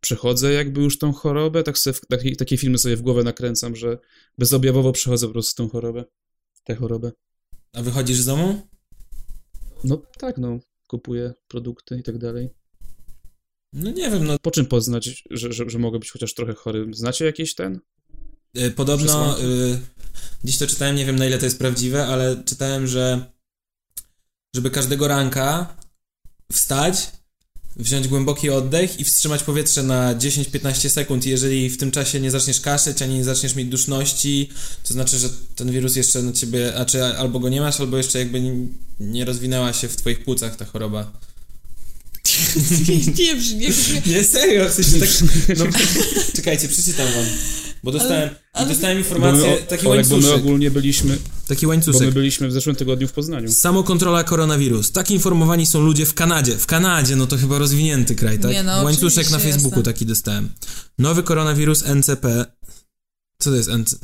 Speaker 1: przechodzę jakby już tą chorobę, tak sobie w, taki, takie filmy sobie w głowę nakręcam, że bezobjawowo przechodzę po prostu tą chorobę, tę chorobę.
Speaker 3: A wychodzisz z domu?
Speaker 1: No tak, no, kupuję produkty i tak dalej.
Speaker 3: No nie wiem, no
Speaker 1: Po czym poznać, że, że, że mogę być chociaż trochę chory? Znacie jakiś ten?
Speaker 3: Y, Podobno
Speaker 1: Przesłanki.
Speaker 3: y, dziś to czytałem, nie wiem na ile to jest prawdziwe, ale czytałem, że żeby każdego ranka wstać, wziąć głęboki oddech i wstrzymać powietrze na 10-15 sekund. I jeżeli w tym czasie nie zaczniesz kaszeć, ani nie zaczniesz mieć duszności, to znaczy, że ten wirus jeszcze na ciebie, a czy albo go nie masz, albo jeszcze jakby nie, nie rozwinęła się w twoich płucach ta choroba.
Speaker 5: nie brzmi, jak brzmi.
Speaker 3: Nie, serio, w sensie tak... No, czekajcie, przeczytam wam. Bo dostałem,
Speaker 5: ale-
Speaker 3: dostałem informację,
Speaker 1: Bo my o-
Speaker 3: taki
Speaker 1: Olek, bo my
Speaker 3: łańcuszek.
Speaker 1: ogólnie byliśmy,
Speaker 3: Taki
Speaker 1: bo
Speaker 3: łańcuszek.
Speaker 1: my byliśmy w zeszłym tygodniu w Poznaniu.
Speaker 3: Samokontrola koronawirus. Tak informowani są ludzie w Kanadzie. W Kanadzie, no to chyba rozwinięty kraj, tak?
Speaker 5: Nie, no,
Speaker 3: Łańcuszek
Speaker 5: oczywiście
Speaker 3: na Facebooku
Speaker 5: jestem.
Speaker 3: taki dostałem. Nowy koronawirus NCP. Co to jest NC...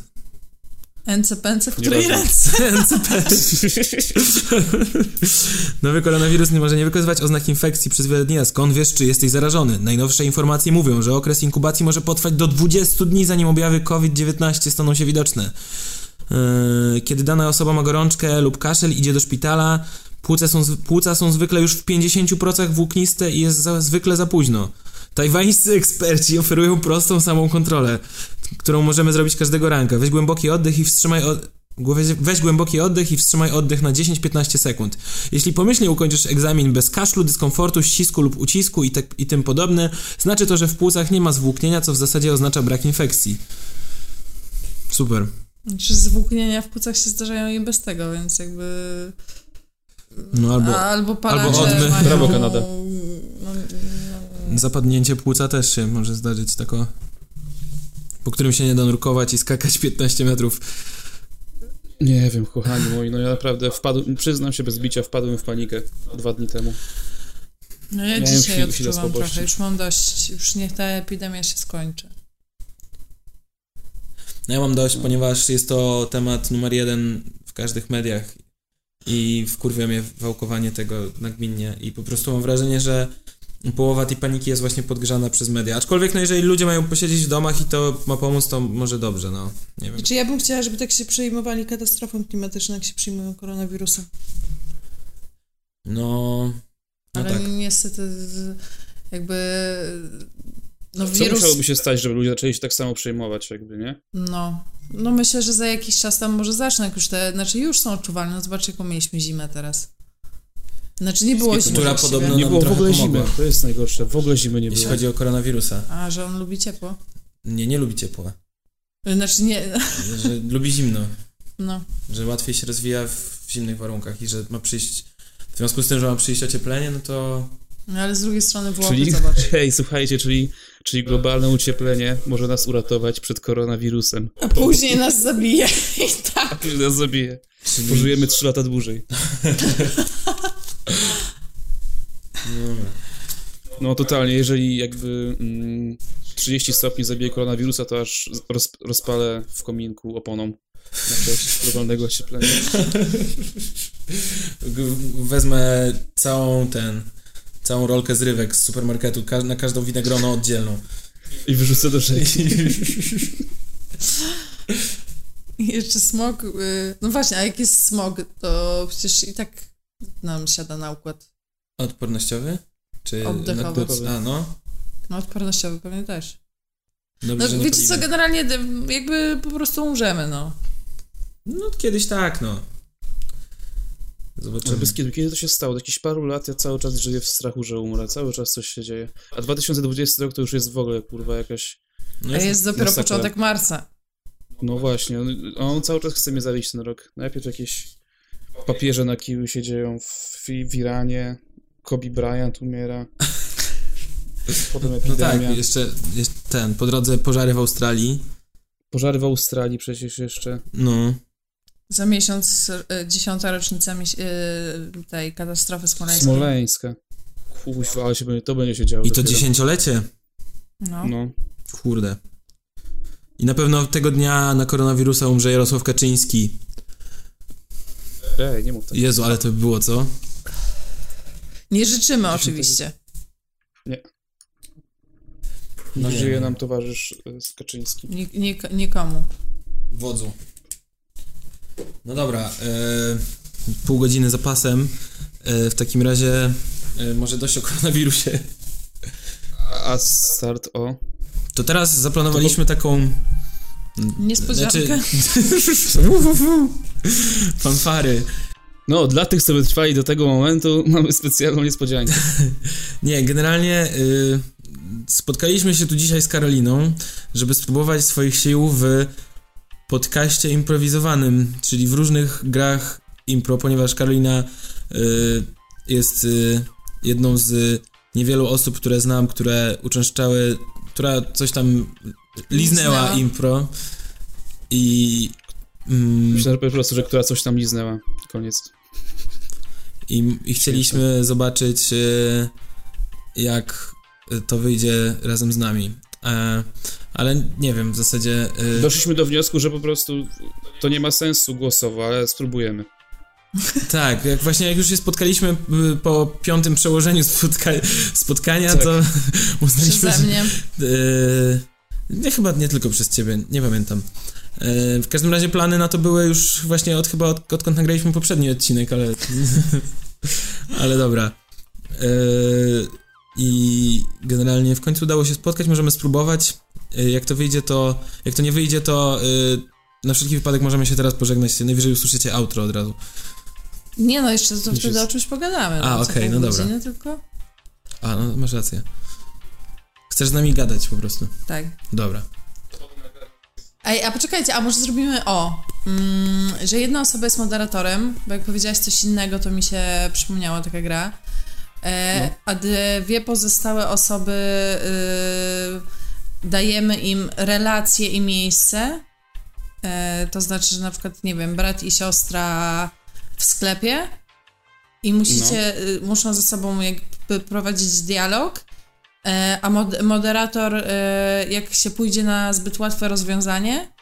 Speaker 5: NCPNC, w której
Speaker 1: Nieważne.
Speaker 5: ręce?
Speaker 3: NCP? Nowy koronawirus nie może nie wykazywać oznak infekcji przez wiele dni, a skąd wiesz, czy jesteś zarażony? Najnowsze informacje mówią, że okres inkubacji może potrwać do 20 dni, zanim objawy COVID-19 staną się widoczne. Yy, Kiedy dana osoba ma gorączkę lub kaszel, idzie do szpitala, płuca są, zw- płuca są zwykle już w 50% włókniste i jest za, zwykle za późno. Tajwańscy eksperci oferują prostą samą kontrolę, którą możemy zrobić każdego ranka. Weź głęboki oddech i wstrzymaj. Od... Weź, weź głęboki oddech i wstrzymaj oddech na 10-15 sekund. Jeśli pomyślnie ukończysz egzamin bez kaszlu, dyskomfortu, ścisku lub ucisku i, tak, i tym podobne, znaczy to, że w płucach nie ma zwłóknienia, co w zasadzie oznacza brak infekcji. Super.
Speaker 5: Czy zwłóknienia Znaczy, w płucach się zdarzają i bez tego, więc jakby...
Speaker 3: No albo
Speaker 5: A, albo palacze
Speaker 3: albo odmy.
Speaker 5: mają...
Speaker 1: Brawo, Kanada.
Speaker 5: No, no,
Speaker 3: zapadnięcie płuca też się może zdarzyć, tako po którym się nie da nurkować i skakać 15 metrów.
Speaker 1: Nie wiem, kochani moi, no ja naprawdę wpadłem, przyznam się bez bicia, wpadłem w panikę dwa dni temu.
Speaker 5: no ja
Speaker 1: Miałem
Speaker 5: dzisiaj
Speaker 1: chwil- chwilę
Speaker 5: odczuwam
Speaker 1: słabości.
Speaker 5: trochę, już mam dość, już niech ta epidemia się skończy.
Speaker 3: No ja mam dość, ponieważ jest to temat numer jeden w każdych mediach i wkurwia mnie wałkowanie tego nagminnie i po prostu mam wrażenie, że połowa tej paniki jest właśnie podgrzana przez media. Aczkolwiek no jeżeli ludzie mają posiedzieć w domach i to ma pomóc, to może dobrze, no. Nie wiem.
Speaker 5: Znaczy ja bym chciała, żeby tak się przejmowali katastrofą klimatyczną, jak się przyjmują koronawirusem.
Speaker 3: No... No
Speaker 5: Ale
Speaker 3: tak.
Speaker 5: niestety z- jakby... No
Speaker 1: Co
Speaker 5: wirus...
Speaker 1: musiałoby się stać, żeby ludzie zaczęli się tak samo przejmować jakby, nie?
Speaker 5: No. No myślę, że za jakiś czas tam może zaczną, jak już te... Znaczy już są odczuwalne, no zobacz jaką mieliśmy zimę teraz. Znaczy nie było zimy
Speaker 3: Która
Speaker 5: właściwie.
Speaker 3: podobno- No
Speaker 1: nie
Speaker 3: nam
Speaker 1: było w
Speaker 3: trochę
Speaker 1: ogóle
Speaker 3: pomogło.
Speaker 1: zimy, to jest najgorsze, w ogóle zimy nie
Speaker 3: Jeśli
Speaker 1: było.
Speaker 3: chodzi o koronawirusa.
Speaker 5: A, że on lubi ciepło.
Speaker 3: Nie, nie lubi ciepła.
Speaker 5: Znaczy nie...
Speaker 3: Że lubi zimno.
Speaker 5: No.
Speaker 3: Że łatwiej się rozwija w w zimnych warunkach i że ma przyjść... W związku z tym, że ma przyjść ocieplenie, no to...
Speaker 5: No ale z drugiej strony było
Speaker 1: Czyli,
Speaker 5: zobacz.
Speaker 1: hej, słuchajcie, czyli, czyli globalne ocieplenie może nas uratować przed koronawirusem.
Speaker 5: A później nas zabije i tak.
Speaker 1: Później nas zabije.
Speaker 3: Czyli...
Speaker 1: Pożyjemy 3 lata dłużej.
Speaker 3: No, dobra.
Speaker 1: No totalnie, jeżeli jakby mm, 30 stopni zabije koronawirusa, to aż roz, rozpalę w kominku oponą na cześć globalnego ocieplenia.
Speaker 3: G- wezmę całą ten, całą rolkę zrywek z supermarketu, ka- na każdą winegroną oddzielną.
Speaker 1: I wyrzucę do rzeki.
Speaker 5: I jeszcze smog. y, No właśnie, a jak jest smog, to przecież i tak nam siada na układ.
Speaker 3: Odpornościowy? Czy
Speaker 5: Oddechowy.
Speaker 3: na- A no.
Speaker 5: No odpornościowy pewnie też.
Speaker 3: Dobrze,
Speaker 5: No
Speaker 3: że nie
Speaker 5: wiecie co,
Speaker 3: paliłem.
Speaker 5: generalnie d- jakby po prostu umrzemy, no.
Speaker 3: No kiedyś tak, no. Zobaczymy.
Speaker 1: Bez kiedy, kiedy to się stało? Od jakichś paru lat ja cały czas żyję w strachu, że umrę. Cały czas coś się dzieje. A 2020 rok to już jest w ogóle kurwa jakaś...
Speaker 3: No
Speaker 5: A
Speaker 3: już-
Speaker 5: jest dopiero
Speaker 1: masakra.
Speaker 5: początek marca.
Speaker 1: No właśnie, on, on cały czas chce mnie zawieść ten rok. Najpierw jakieś papieże na kiju się dzieją w, w Iranie. Kobe Bryant umiera. Potem
Speaker 3: No tak,
Speaker 1: epidemia.
Speaker 3: jeszcze, jeszcze ten, po drodze pożary w Australii.
Speaker 1: Pożary w Australii przecież jeszcze.
Speaker 3: No.
Speaker 5: Za miesiąc y, dziesiąta rocznica miś- y, tej katastrofy smoleńskiej.
Speaker 1: Smoleńska. Kuźwa, ale się będzie, to będzie się działo.
Speaker 3: I to
Speaker 1: dopiero.
Speaker 3: dziesięciolecie.
Speaker 5: No.
Speaker 1: No.
Speaker 3: Kurde. I na pewno tego dnia na koronawirusa umrze Jarosław Kaczyński.
Speaker 1: Ej, nie mów tak.
Speaker 3: Jezu, ale to by było, co?
Speaker 5: Nie życzymy oczywiście.
Speaker 1: Nadzieję nam towarzysz y, z Kaczyńskim.
Speaker 5: Nik- nik- nikomu.
Speaker 3: Wodzu. No dobra, e, pół godziny za pasem. E, w takim razie e, może dość o koronawirusie.
Speaker 1: A start o.
Speaker 3: To teraz zaplanowaliśmy taką... znaczy-
Speaker 5: Niespodziankę.
Speaker 3: fanfary.
Speaker 1: No, dla tych, co wytrwali do tego momentu, mamy specjalną niespodziankę.
Speaker 3: Nie, generalnie y, spotkaliśmy się tu dzisiaj z Karoliną, żeby spróbować swoich sił w podcaście improwizowanym, czyli w różnych grach impro, ponieważ Karolina y, jest y, jedną z niewielu osób, które znam, które uczęszczały, która coś tam liznęła
Speaker 5: Liznęła.
Speaker 3: impro i... Mm,
Speaker 1: Myślę że po prostu, że która coś tam liznęła. Koniec.
Speaker 3: I, i chcieliśmy zobaczyć, e, jak e, to wyjdzie razem z nami. E, Ale nie wiem, w zasadzie. e,
Speaker 1: Doszliśmy do wniosku, że po prostu to nie ma sensu głosowo, ale spróbujemy.
Speaker 3: Tak, jak właśnie jak już się spotkaliśmy e, po piątym przełożeniu spotka spotkania,
Speaker 1: Tak.
Speaker 3: to uznaliśmy,
Speaker 5: Przeze
Speaker 3: że.
Speaker 5: mnie.
Speaker 3: e, Nie, chyba nie tylko przez ciebie, nie pamiętam. E, W każdym razie plany na to były już właśnie od chyba od, odkąd nagraliśmy poprzedni odcinek, ale. ale dobra. E, I generalnie w końcu udało się spotkać, możemy spróbować. E, Jak to wyjdzie, to. Jak to nie wyjdzie, to. e, Na wszelki wypadek możemy się teraz pożegnać. Najwyżej usłyszycie outro od razu.
Speaker 5: Nie no, jeszcze to
Speaker 1: Już
Speaker 5: wtedy
Speaker 1: jest.
Speaker 5: o czymś pogadamy.
Speaker 3: A,
Speaker 5: no,
Speaker 3: okej, no dobra.
Speaker 5: Godzinę tylko?
Speaker 3: A, no masz rację. Chcesz z nami gadać po prostu.
Speaker 5: Tak.
Speaker 3: Dobra.
Speaker 5: Ej, a poczekajcie, a może zrobimy o, mm, że jedna osoba jest moderatorem, bo jak powiedziałaś coś innego, to mi się przypomniała taka gra, e, a dwie pozostałe osoby y, dajemy im relacje i miejsce, e, to znaczy, że na przykład, nie wiem, brat i siostra w sklepie i musicie, y, muszą ze sobą jakby prowadzić dialog, E, A mod- moderator, e, jak się pójdzie na zbyt łatwe rozwiązanie,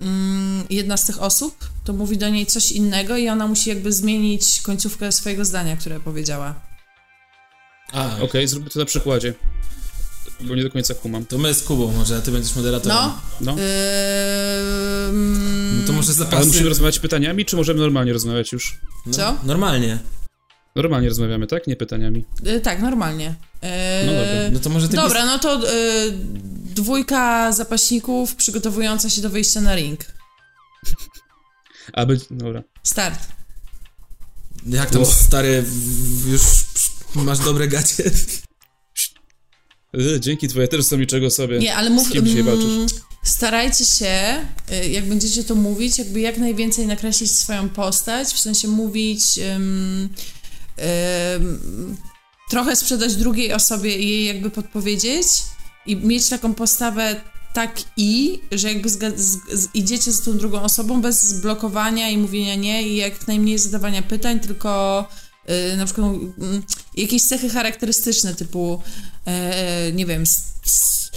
Speaker 5: mm, jedna z tych osób, to mówi do niej coś innego i ona musi jakby zmienić końcówkę swojego zdania, które powiedziała.
Speaker 3: A,
Speaker 1: Okej, zróbmy to na przykładzie. Bo nie do końca kumam.
Speaker 3: To my z Kubą może, a ty będziesz moderatorem.
Speaker 5: No.
Speaker 1: No.
Speaker 5: Ym,
Speaker 3: No To może
Speaker 1: Ale
Speaker 3: zapasy...
Speaker 1: musimy rozmawiać pytaniami, czy możemy normalnie rozmawiać już?
Speaker 3: no,
Speaker 5: Co?
Speaker 3: Normalnie.
Speaker 1: Normalnie rozmawiamy, tak? Nie pytaniami.
Speaker 5: y, tak, normalnie. E,
Speaker 1: No dobra,
Speaker 3: No to może ty...
Speaker 5: dobra, no to y, dwójka zapaśników przygotowująca się do wyjścia na ring.
Speaker 1: A być. Dobra.
Speaker 5: Start.
Speaker 3: pis- Jak tam,
Speaker 1: O.
Speaker 3: stary, w- w- już psz- masz dobre gacie?
Speaker 1: Y, dzięki twoje też są niczego sobie.
Speaker 5: Nie, ale mów,
Speaker 1: Z kim dzisiaj
Speaker 5: mm,
Speaker 1: walczysz?
Speaker 5: Starajcie się, y, jak będziecie to mówić, jakby jak najwięcej nakreślić swoją postać, w sensie mówić. ym, ym, trochę sprzedać drugiej osobie i jej jakby podpowiedzieć i mieć taką postawę tak i, że jakby zga- z- z- idziecie z tą drugą osobą bez blokowania i mówienia nie i jak najmniej zadawania pytań, tylko y, na przykład mm, jakieś cechy charakterystyczne typu e, nie wiem, s- s-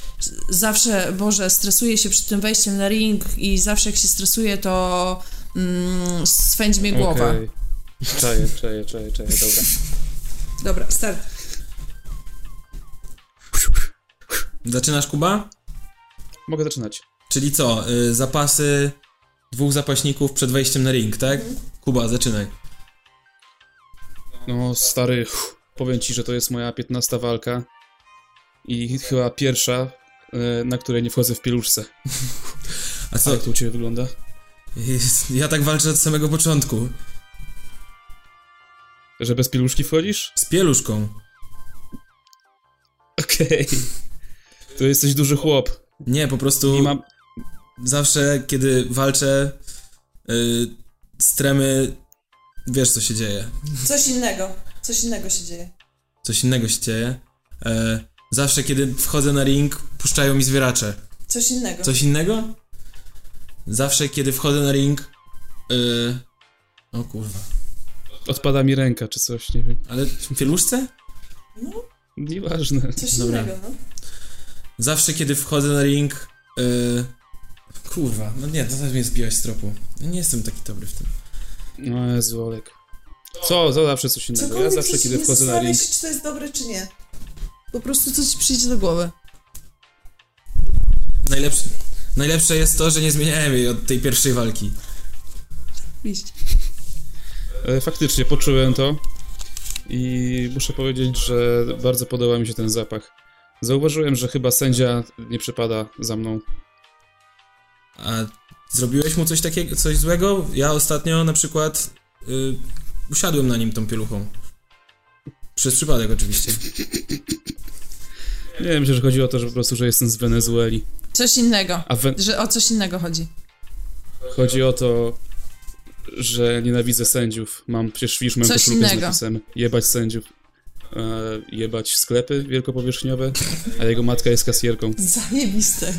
Speaker 5: zawsze, Boże, stresuję się przed tym wejściem na ring i zawsze jak się stresuję, to mm, swędzi mnie głowa.
Speaker 1: Okej. Czaję, czaję, czaję, czaję, dobra.
Speaker 5: Dobra, start.
Speaker 3: Zaczynasz, Kuba?
Speaker 1: Mogę zaczynać.
Speaker 3: Czyli co, y, zapasy dwóch zapaśników przed wejściem na ring, tak?
Speaker 5: Mhm.
Speaker 3: Kuba, zaczynaj.
Speaker 1: No, stary, uff, powiem ci, że to jest moja 15 walka i chyba pierwsza, e, na której nie wchodzę w pieluszce.
Speaker 3: A
Speaker 1: A
Speaker 3: co?
Speaker 1: jak to u ciebie wygląda?
Speaker 3: Jest- Ja tak walczę od samego początku.
Speaker 1: Że bez pieluszki wchodzisz?
Speaker 3: Z pieluszką.
Speaker 1: Okej. To jesteś duży chłop.
Speaker 3: Nie, po prostu
Speaker 1: I mam...
Speaker 3: zawsze, kiedy walczę, y, stremy, wiesz co się dzieje.
Speaker 5: Coś innego. Coś innego się dzieje.
Speaker 3: Coś innego się dzieje. E, Zawsze, kiedy wchodzę na ring, puszczają mi zwieracze.
Speaker 5: Coś innego.
Speaker 3: Coś innego? Zawsze, kiedy wchodzę na ring... Yy... O kurwa.
Speaker 1: Odpada mi ręka czy coś, nie wiem.
Speaker 3: Ale w pieluszce?
Speaker 1: Nieważne.
Speaker 5: Coś
Speaker 3: Dobra.
Speaker 5: innego, no.
Speaker 3: Zawsze, kiedy wchodzę na ring... Yy... Kurwa, no nie, to też mnie zbiłaś z tropu. Ja nie jestem taki dobry w tym.
Speaker 1: No Jezu, Olek. Co? To zawsze coś innego. Ja
Speaker 5: Cokolwiek
Speaker 1: zawsze,
Speaker 5: coś-
Speaker 1: kiedy
Speaker 5: nie
Speaker 1: wchodzę na
Speaker 5: zastanawiaj
Speaker 1: ring...
Speaker 5: Się, czy to jest dobre, czy nie. Po prostu coś ci przyjdzie do głowy.
Speaker 3: Najlepsze, najlepsze jest to, że nie zmieniałem jej od tej pierwszej walki.
Speaker 5: Iść.
Speaker 1: E, Faktycznie, poczułem to i muszę powiedzieć, że bardzo podoba mi się ten zapach. Zauważyłem, że chyba sędzia nie przypada za mną.
Speaker 3: A zrobiłeś mu coś takiego, coś złego? Ja ostatnio na przykład y, usiadłem na nim tą pieluchą. Przez przypadek oczywiście.
Speaker 1: Nie wiem, że chodziło o to, że po prostu, że jestem z Wenezueli.
Speaker 5: Coś innego.
Speaker 1: A we...
Speaker 5: Że o coś innego chodzi.
Speaker 1: chodzi o to, że nienawidzę sędziów. Mam przecież fisz, mam
Speaker 5: Coś
Speaker 1: koszulkę z
Speaker 5: innego.
Speaker 1: napisem jebać sędziów. E, jebać sklepy wielkopowierzchniowe, a jego matka jest kasjerką.
Speaker 5: Zajebiste.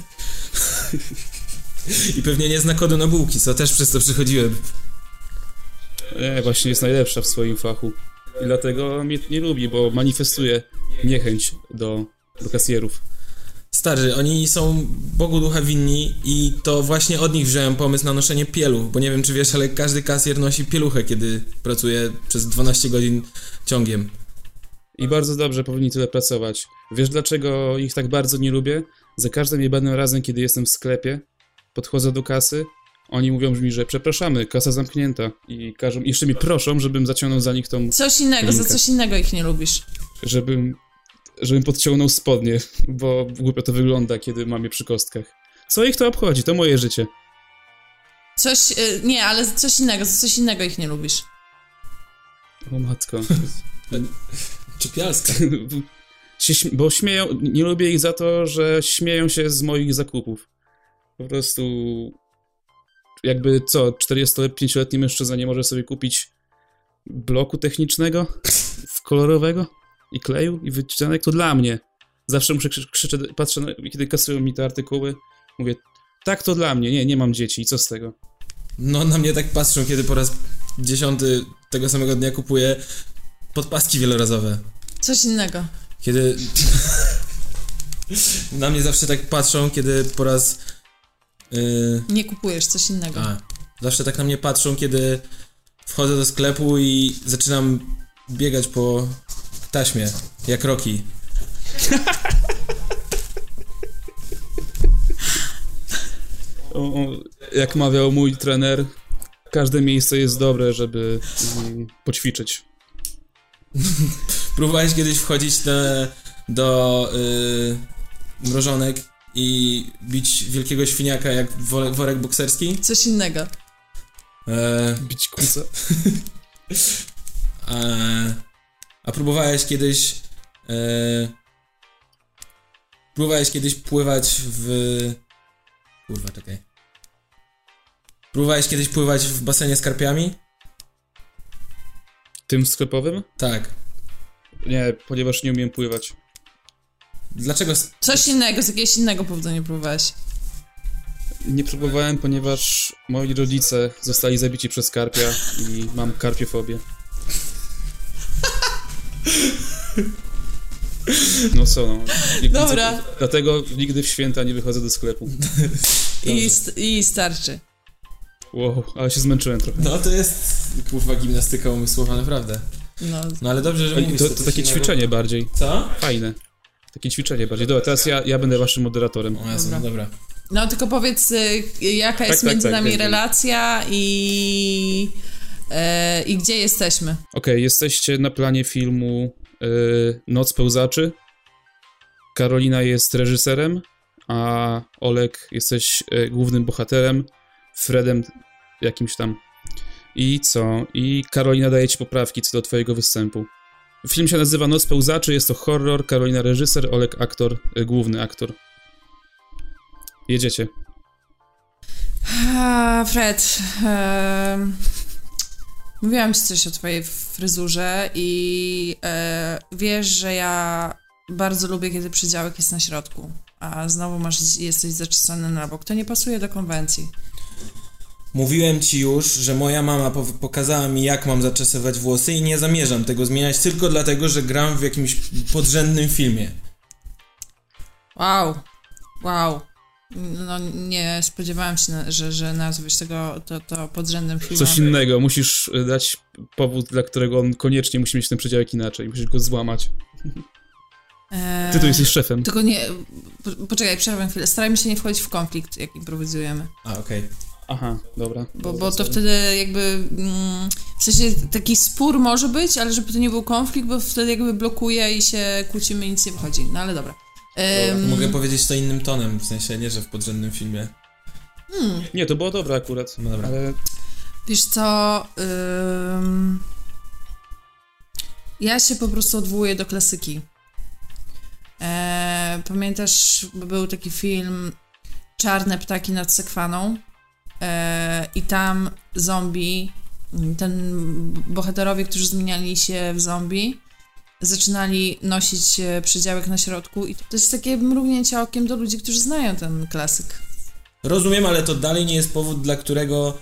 Speaker 3: I pewnie nie zna kodu na bułki, co też przez to przychodziłem.
Speaker 1: Nie, E, właśnie jest najlepsza w swoim fachu. I dlatego mnie nie lubi, bo manifestuje niechęć do, do kasjerów.
Speaker 3: Starzy, oni są Bogu ducha winni i to właśnie od nich wziąłem pomysł na noszenie pieluch, bo nie wiem czy wiesz, ale każdy kasjer nosi pieluchę, kiedy pracuje przez 12 godzin ciągiem.
Speaker 1: I bardzo dobrze powinni tyle pracować. Wiesz dlaczego ich tak bardzo nie lubię? Za każdym jebanym razem, kiedy jestem w sklepie, podchodzę do kasy, oni mówią mi, że przepraszamy, kasa zamknięta. I każą, jeszcze mi proszą, żebym zaciągnął za nich tą,
Speaker 5: Coś innego, za
Speaker 1: Linkę.
Speaker 5: coś innego ich nie lubisz.
Speaker 1: żebym, żebym podciągnął spodnie, bo głupio to wygląda, kiedy mam je przy kostkach. Co ich to obchodzi? To moje życie.
Speaker 5: Coś, y, nie, ale za coś innego, za coś innego ich nie lubisz.
Speaker 1: O matko.
Speaker 3: Czepialska.
Speaker 1: się, śm- bo śmieją, nie lubię ich za to, że śmieją się z moich zakupów. Po prostu jakby co, 45-letni mężczyzna nie może sobie kupić bloku technicznego w kolorowego i kleju i wycinanek to dla mnie. Zawsze muszę krzy- krzyczeć, patrzę, na, kiedy kasują mi te artykuły, mówię tak to dla mnie, nie, nie mam dzieci i co z tego?
Speaker 3: No, na mnie tak patrzą, kiedy po raz dziesiąty tego samego dnia kupuję podpaski wielorazowe.
Speaker 5: Coś innego.
Speaker 3: Kiedy. na mnie zawsze tak patrzą, kiedy po raz. Yy...
Speaker 5: Nie kupujesz coś innego.
Speaker 3: A, zawsze tak na mnie patrzą, kiedy wchodzę do sklepu i zaczynam biegać po taśmie, jak roki.
Speaker 1: O, o, jak mawiał mój trener, każde miejsce jest dobre, żeby mm, poćwiczyć.
Speaker 3: Próbowałeś kiedyś wchodzić na, do yy, mrożonek i bić wielkiego świniaka jak wole- worek bokserski?
Speaker 5: Coś innego.
Speaker 3: Eee,
Speaker 1: Bić kuca.
Speaker 3: A, E, a próbowałeś kiedyś. E, próbowałeś kiedyś pływać w. Kurwa, czekaj. Próbowałeś kiedyś pływać w basenie z karpiami?
Speaker 1: Tym sklepowym?
Speaker 3: Tak.
Speaker 1: Nie, ponieważ nie umiem pływać.
Speaker 3: Dlaczego. s-
Speaker 5: Coś innego, z jakiegoś innego powodu nie próbowałeś.
Speaker 1: Nie próbowałem, ponieważ moi rodzice zostali zabici przez karpia i mam karpiofobię. No co, no. Nigdy-
Speaker 5: Dobra.
Speaker 1: Dlatego nigdy w święta nie wychodzę do sklepu.
Speaker 5: I, st- I starczy.
Speaker 1: Wow, ale się zmęczyłem trochę.
Speaker 3: No to jest kurwa gimnastyka umysłowa, naprawdę.
Speaker 5: No,
Speaker 3: No ale dobrze, że mówisz
Speaker 1: To,
Speaker 3: co
Speaker 1: to
Speaker 3: coś
Speaker 1: takie
Speaker 3: innego.
Speaker 1: ćwiczenie bardziej.
Speaker 3: Co?
Speaker 1: Fajne. Takie ćwiczenie bardziej. Dobra, teraz ja, ja będę waszym moderatorem.
Speaker 3: O Jezu,
Speaker 5: Dobra.
Speaker 3: dobra. dobra.
Speaker 5: no tylko powiedz, y, jaka jest
Speaker 1: tak,
Speaker 5: między
Speaker 1: tak,
Speaker 5: nami
Speaker 1: wiem, wiem.
Speaker 5: relacja i, e, i gdzie jesteśmy.
Speaker 1: Okej, jesteście na planie filmu y, Noc Pełzaczy. Karolina jest reżyserem, a Olek jesteś y, głównym bohaterem, Fredem jakimś tam. I co? I Karolina daje ci poprawki co do twojego występu. Film się nazywa Noc Pełzaczy, jest to horror, Karolina reżyser, Olek aktor, y, główny aktor. Jedziecie.
Speaker 5: A, Eee, Fred, eee, em, mówiłam ci coś o twojej fryzurze i e, wiesz, eee, że ja bardzo lubię, kiedy przydziałek jest na środku, a znowu masz, jesteś zaczesany na bok. To nie pasuje do konwencji.
Speaker 3: Mówiłem ci już, że moja mama po- pokazała mi, jak mam zaczesywać włosy i nie zamierzam tego zmieniać tylko dlatego, że gram w jakimś podrzędnym filmie.
Speaker 5: Wow, wow. No nie spodziewałam się, na- że, że nazwiesz tego to, to podrzędnym filmem.
Speaker 1: Coś innego, musisz y, dać powód, dla którego on koniecznie musi mieć ten przedziałek inaczej. Musisz go złamać.
Speaker 5: Eee,
Speaker 1: Ty tu jesteś szefem.
Speaker 5: Tylko nie... po- Poczekaj, przerwę chwilę. Starajmy się nie wchodzić w konflikt, jak improwizujemy.
Speaker 3: A, okej.
Speaker 1: Aha, dobra.
Speaker 5: Bo, bo to wtedy jakby. Mm, w sensie taki spór może być, ale żeby to nie był konflikt, bo wtedy jakby blokuje i się kłócimy i nic nie wychodzi. No ale dobra. Em,
Speaker 3: Mogę powiedzieć to innym tonem, w sensie nie, że w podrzędnym filmie.
Speaker 1: Nie, to było dobre akurat.
Speaker 3: No dobra.
Speaker 1: Ale
Speaker 5: Wiesz co? Ym, ja się po prostu odwołuję do klasyki. E, pamiętasz, był taki film Czarne ptaki nad Sekwaną e, i tam zombie, ten bohaterowie, którzy zmieniali się w zombie, zaczynali nosić e, przydziałek na środku i to jest takie mrugnięcie okiem do ludzi, którzy znają ten klasyk.
Speaker 3: Rozumiem, ale to dalej nie jest powód, dla którego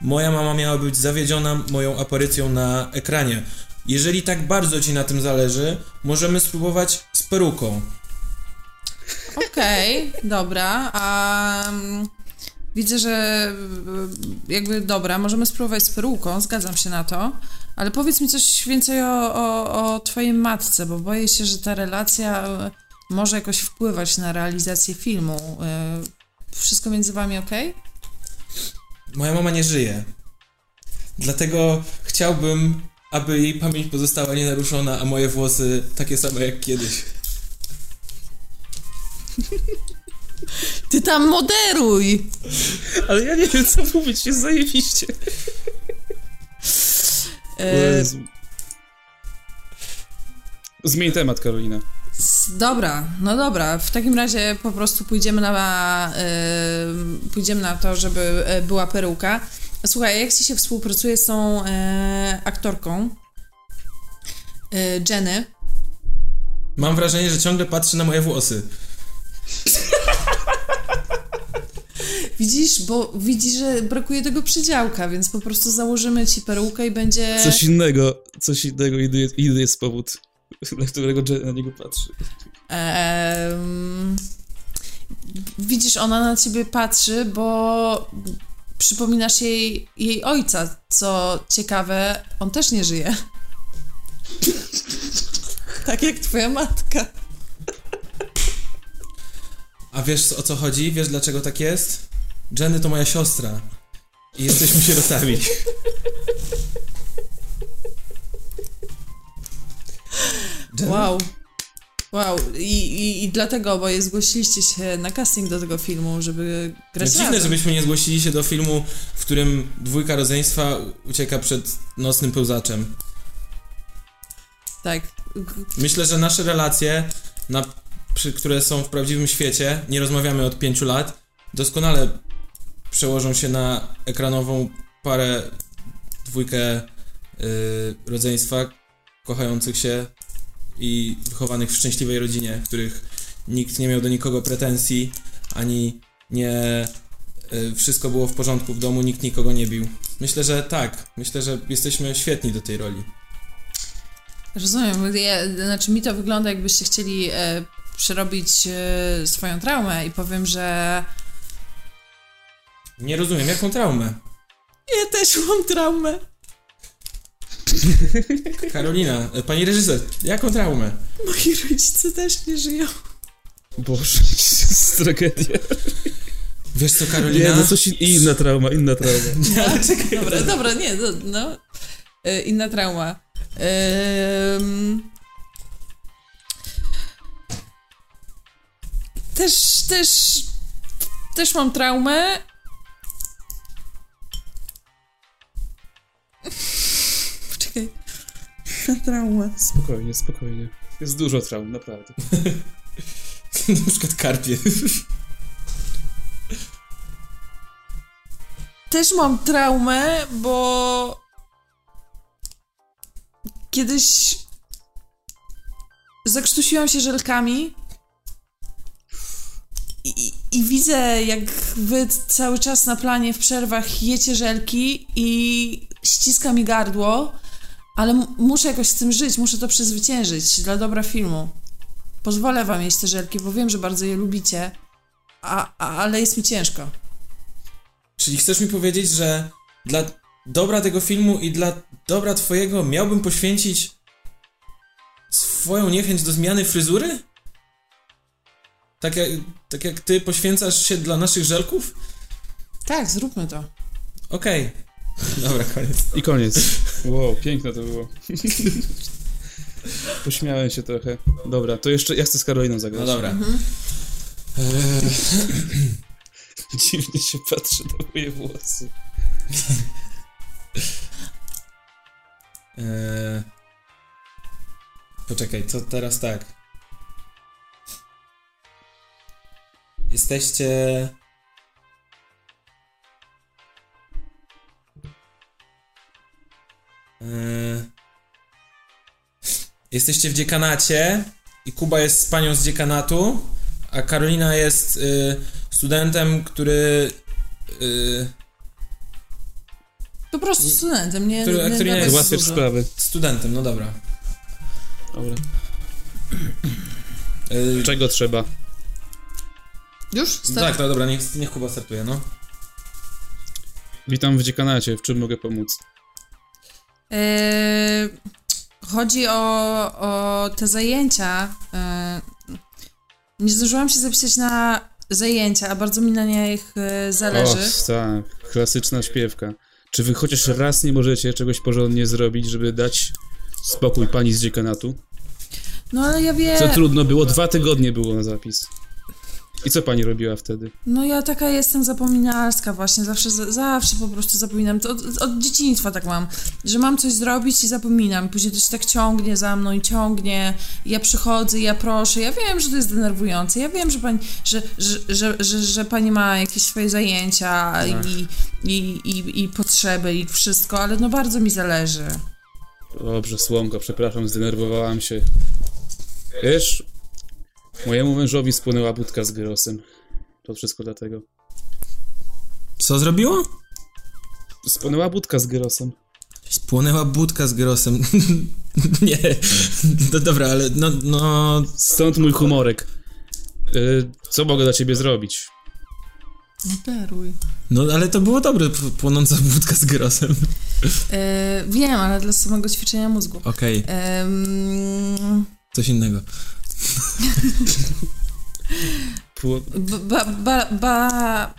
Speaker 3: moja mama miała być zawiedziona moją aparycją na ekranie. Jeżeli tak bardzo ci na tym zależy, możemy spróbować z peruką.
Speaker 5: Okej, dobra. A mm, widzę, że y, jakby dobra, możemy spróbować z peruką, zgadzam się na to. Ale powiedz mi coś więcej o, o, o twojej matce, bo boję się, że ta relacja y, może jakoś wpływać na realizację filmu. Y, Wszystko między wami ok?
Speaker 3: Moja mama nie żyje. Dlatego chciałbym, aby jej pamięć pozostała nienaruszona, a moje włosy takie same jak kiedyś.
Speaker 5: Ty tam moderuj!
Speaker 1: Ale ja nie wiem, co mówić, jest zajebiście.
Speaker 5: E,
Speaker 1: Jezu. Zmień temat, Karolina.
Speaker 5: S- Dobra, no dobra. W takim razie po prostu pójdziemy na, y, pójdziemy na to, żeby y, była peruka. Słuchaj, jak ci się współpracuje z tą y, aktorką y, Jenny?
Speaker 3: Mam wrażenie, że ciągle patrzy na moje włosy.
Speaker 5: Widzisz, bo widzisz, że brakuje tego przydziałka, więc po prostu założymy ci perukę i będzie...
Speaker 1: Coś innego, coś innego, inny, inny jest powód, dla którego Jen na niego patrzy.
Speaker 5: Em, widzisz, ona na ciebie patrzy, bo przypominasz jej, jej ojca. Co ciekawe, on też nie żyje. tak jak twoja matka.
Speaker 3: A wiesz o co chodzi? Wiesz dlaczego tak jest? Jenny to moja siostra. I jesteśmy sierotami. Jenny?
Speaker 5: Wow. Wow, I, i, i dlatego oboje zgłosiliście się na casting do tego filmu, żeby
Speaker 3: No
Speaker 5: grać
Speaker 3: dziwne,
Speaker 5: razem.
Speaker 3: żebyśmy nie zgłosili się do filmu, w którym dwójka rodzeństwa ucieka przed nocnym pełzaczem.
Speaker 5: Tak.
Speaker 3: Myślę, że nasze relacje, na, przy, które są w prawdziwym świecie, nie rozmawiamy od pięciu lat, doskonale przełożą się na ekranową parę, dwójkę yy, rodzeństwa kochających się i wychowanych w szczęśliwej rodzinie, w których nikt nie miał do nikogo pretensji, ani nie yy, wszystko było w porządku w domu, nikt nikogo nie bił. Myślę, że tak. Myślę, że jesteśmy świetni do tej roli.
Speaker 5: Rozumiem, ja, znaczy mi to wygląda jakbyście chcieli e, przerobić e, swoją traumę i powiem, że
Speaker 3: Nie rozumiem, jaką traumę?
Speaker 5: Ja też mam traumę.
Speaker 3: Karolina, e, pani reżyser, jaką traumę?
Speaker 5: Moi rodzice też nie żyją.
Speaker 1: Boże, to jest tragedia.
Speaker 3: Wiesz co,
Speaker 1: Nie,
Speaker 3: Karolina?
Speaker 1: no coś in- inna trauma, inna trauma.
Speaker 3: Ale czekaj,
Speaker 5: Dobra, dobra, nie, no. no. E, Inna trauma. Em, Też, też, też mam traumę. Czekaj. Trauma.
Speaker 1: Spokojnie, spokojnie. Jest dużo traum, naprawdę.
Speaker 3: na przykład karpie.
Speaker 5: Też mam traumę, bo kiedyś zakrztusiłam się żelkami i, i- i widzę, jak wy cały czas na planie w przerwach jecie żelki i ściska mi gardło, ale m- muszę jakoś z tym żyć, muszę to przezwyciężyć dla dobra filmu. Pozwolę wam jeść te żelki, bo wiem, że bardzo je lubicie, a, a, ale jest mi ciężko.
Speaker 3: Czyli chcesz mi powiedzieć, że dla dobra tego filmu i dla dobra twojego miałbym poświęcić swoją niechęć do zmiany fryzury? Tak jak, tak jak ty poświęcasz się dla naszych żelków?
Speaker 5: Tak, zróbmy to.
Speaker 3: Okej. Dobra, koniec.
Speaker 1: I koniec. Wow, piękne to było. Pośmiałem się trochę. Dobra, to jeszcze ja chcę z Karoliną zagrać.
Speaker 3: No dobra. E,
Speaker 1: Dziwnie się patrzy na moje włosy.
Speaker 3: Eee, poczekaj, to teraz tak. Jesteście. Eee, jesteście w dziekanacie i Kuba jest z panią z dziekanatu, a Karolina jest y, studentem, który. Y,
Speaker 5: Po prostu studentem, nie,
Speaker 3: Który-
Speaker 5: nie,
Speaker 3: który nie
Speaker 5: gadać
Speaker 3: jest
Speaker 1: Załatwiasz
Speaker 5: dużo.
Speaker 1: sprawy.
Speaker 3: studentem, no dobra.
Speaker 1: Dobra.
Speaker 3: Y,
Speaker 1: Czego trzeba?
Speaker 5: Już? Start?
Speaker 3: Tak, no dobra, niech, niech Kuba startuje, no.
Speaker 1: Witam w dziekanacie, w czym mogę pomóc?
Speaker 5: Eee, chodzi o, o te zajęcia. Eee, nie zdążyłam się zapisać na zajęcia, a bardzo mi na nich e, zależy.
Speaker 1: O, tak, klasyczna śpiewka. Czy wy chociaż raz nie możecie czegoś porządnie zrobić, żeby dać spokój pani z dziekanatu?
Speaker 5: No ale ja
Speaker 1: Co
Speaker 5: wiem.
Speaker 1: trudno było, dwa tygodnie było na zapis. I co pani robiła wtedy?
Speaker 5: No ja taka jestem zapominalska właśnie, zawsze, za- zawsze po prostu zapominam. To od, od dzieciństwa tak mam, że mam coś zrobić i zapominam. Później to się tak ciągnie za mną i ciągnie. Ja przychodzę, ja proszę, ja wiem, że to jest denerwujące, ja wiem, że pani, że, że, że, że, że pani ma jakieś swoje zajęcia i, i, i, i potrzeby i wszystko, ale no bardzo mi zależy.
Speaker 1: Dobrze, słomko, przepraszam, zdenerwowałam się. Wiesz, mojemu mężowi spłynęła budka z gyrosem. To wszystko dlatego.
Speaker 3: Co zrobiło?
Speaker 1: Spłynęła budka z gyrosem.
Speaker 3: Spłonęła budka z grosem. nie, no dobra, ale no, no...
Speaker 1: Stąd mój humorek. Y, co mogę dla ciebie zrobić?
Speaker 5: No daruj.
Speaker 3: No ale to było dobre, p- płonąca budka z grosem.
Speaker 5: E, wiem, ale dla samego ćwiczenia mózgu.
Speaker 3: Okej,
Speaker 5: Em,
Speaker 3: coś innego.
Speaker 1: Pło- y,
Speaker 5: B- ba, ba, ba,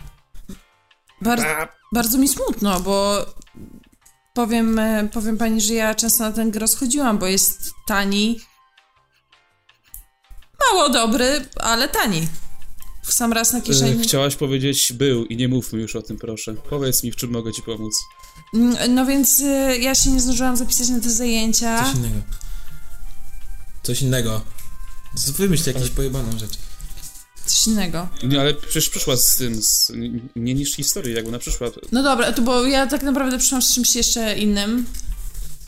Speaker 5: bar, bardzo mi smutno, bo powiem, e, powiem pani, że ja często na ten gros chodziłam, bo jest tani. Mało dobry, ale tani. W sam raz na
Speaker 1: y,
Speaker 5: kieszeni.
Speaker 1: chciałaś powiedzieć był i nie mówmy już o tym, proszę. Powiedz mi, w czym mogę ci pomóc.
Speaker 5: Mm, No więc e, ja się nie zdążyłam zapisać na te zajęcia.
Speaker 3: Coś innego. Coś innego. Z- Wymyśl jakąś pojebaną rzecz.
Speaker 5: Coś innego.
Speaker 1: Nie, ale przecież przyszła z tym, z, nie niż historii, jak ona przyszła.
Speaker 5: No dobra, to bo ja tak naprawdę przyszłam z czymś jeszcze innym.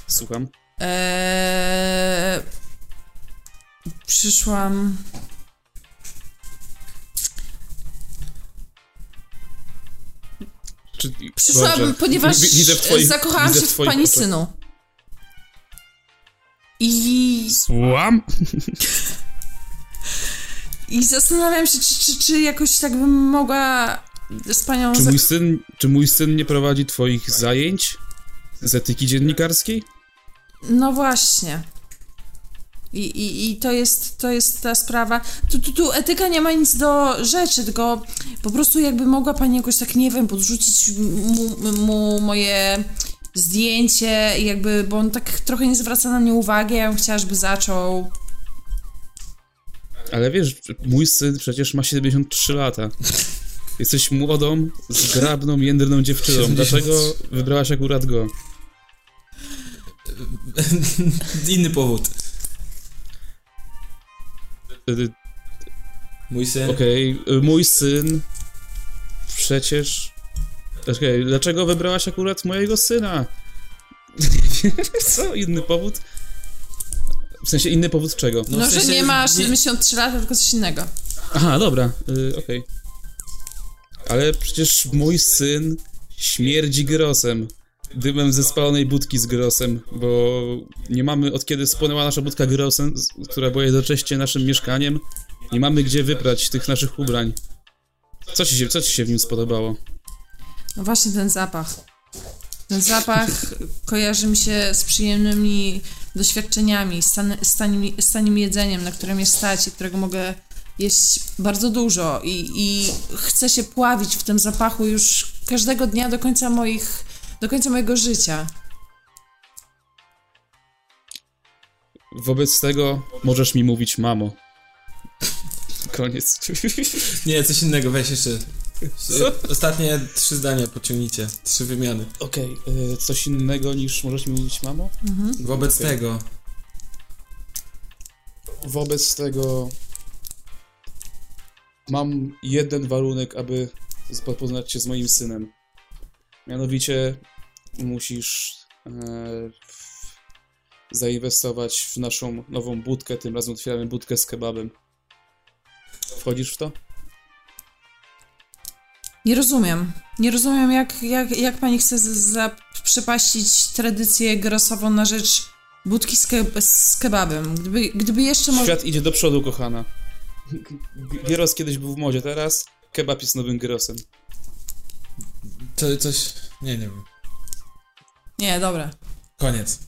Speaker 1: Słucham.
Speaker 5: Eee, przyszłam.
Speaker 1: Czy,
Speaker 5: Przyszłam,
Speaker 1: Boże,
Speaker 5: ponieważ
Speaker 1: wi- widzę w twoich-
Speaker 5: zakochałam
Speaker 1: widzę
Speaker 5: się
Speaker 1: w
Speaker 5: w,
Speaker 1: twoich
Speaker 5: pani
Speaker 1: oczach.
Speaker 5: synu. I,
Speaker 1: Słucham?
Speaker 5: I zastanawiam się, czy, czy, czy jakoś tak bym mogła z panią.
Speaker 1: Czy
Speaker 5: No za-
Speaker 1: mój, syn, czy mój syn nie prowadzi twoich zajęć z etyki dziennikarskiej?
Speaker 5: No właśnie. I, i, I to jest to jest ta sprawa. Tu, tu, tu etyka nie ma nic do rzeczy, tylko po prostu jakby mogła pani jakoś tak, nie wiem, podrzucić mu, mu moje zdjęcie, i jakby, bo on tak trochę nie zwraca na mnie uwagi, ja bym chciała, żeby zaczął.
Speaker 1: Ale wiesz, mój syn przecież ma 73 lata. Jesteś młodą, zgrabną, jędrną dziewczyną.
Speaker 3: 70.
Speaker 1: Dlaczego wybrałaś akurat go?
Speaker 3: Inny powód.
Speaker 1: Y,
Speaker 3: Mój syn.
Speaker 1: Okej, y, mój syn przecież... Czekaj, dlaczego wybrałaś akurat mojego syna? Co, inny powód? W sensie inny powód czego?
Speaker 5: No,
Speaker 3: w
Speaker 5: że
Speaker 3: sensie
Speaker 5: nie ma
Speaker 3: nie-
Speaker 5: 73 lat, tylko coś innego.
Speaker 1: Aha, dobra, y, okej. Ale przecież mój syn śmierdzi grosem. Dymem ze spalonej budki z grosem, bo nie mamy, od kiedy spłonęła nasza budka grosem, z- która była jednocześnie naszym mieszkaniem, nie mamy gdzie wyprać tych naszych ubrań. Co ci się, co ci się w nim spodobało?
Speaker 5: No właśnie ten zapach. Ten zapach kojarzy mi się z przyjemnymi doświadczeniami, z tan- z tanim, z tanim jedzeniem, na które mnie stać i którego mogę jeść bardzo dużo i, i chcę się pławić w tym zapachu już każdego dnia do końca moich, do końca mojego życia.
Speaker 1: Wobec tego możesz mi mówić mamo. Koniec.
Speaker 3: Nie, coś innego, weź jeszcze. Ostatnie trzy zdania pociągnijcie, trzy wymiany.
Speaker 1: Okej, y, coś innego niż możesz mi mówić mamo?
Speaker 3: Wobec tego,
Speaker 1: Wobec tego mam jeden warunek, aby zapoznać się z moim synem. Mianowicie musisz e, w- zainwestować w naszą nową budkę. Tym razem otwieramy budkę z kebabem. Wchodzisz w to?
Speaker 5: Nie rozumiem. Nie rozumiem, jak, jak, jak pani chce z- zaprzepaścić tradycję grosową na rzecz budki z, ke- z kebabem. Gdyby, gdyby jeszcze można.
Speaker 1: Świat idzie do przodu, kochana. G- Gyros kiedyś był w modzie, teraz kebab jest nowym gyrosem.
Speaker 3: co, coś, nie, nie wiem.
Speaker 5: Nie, dobra.
Speaker 3: Koniec.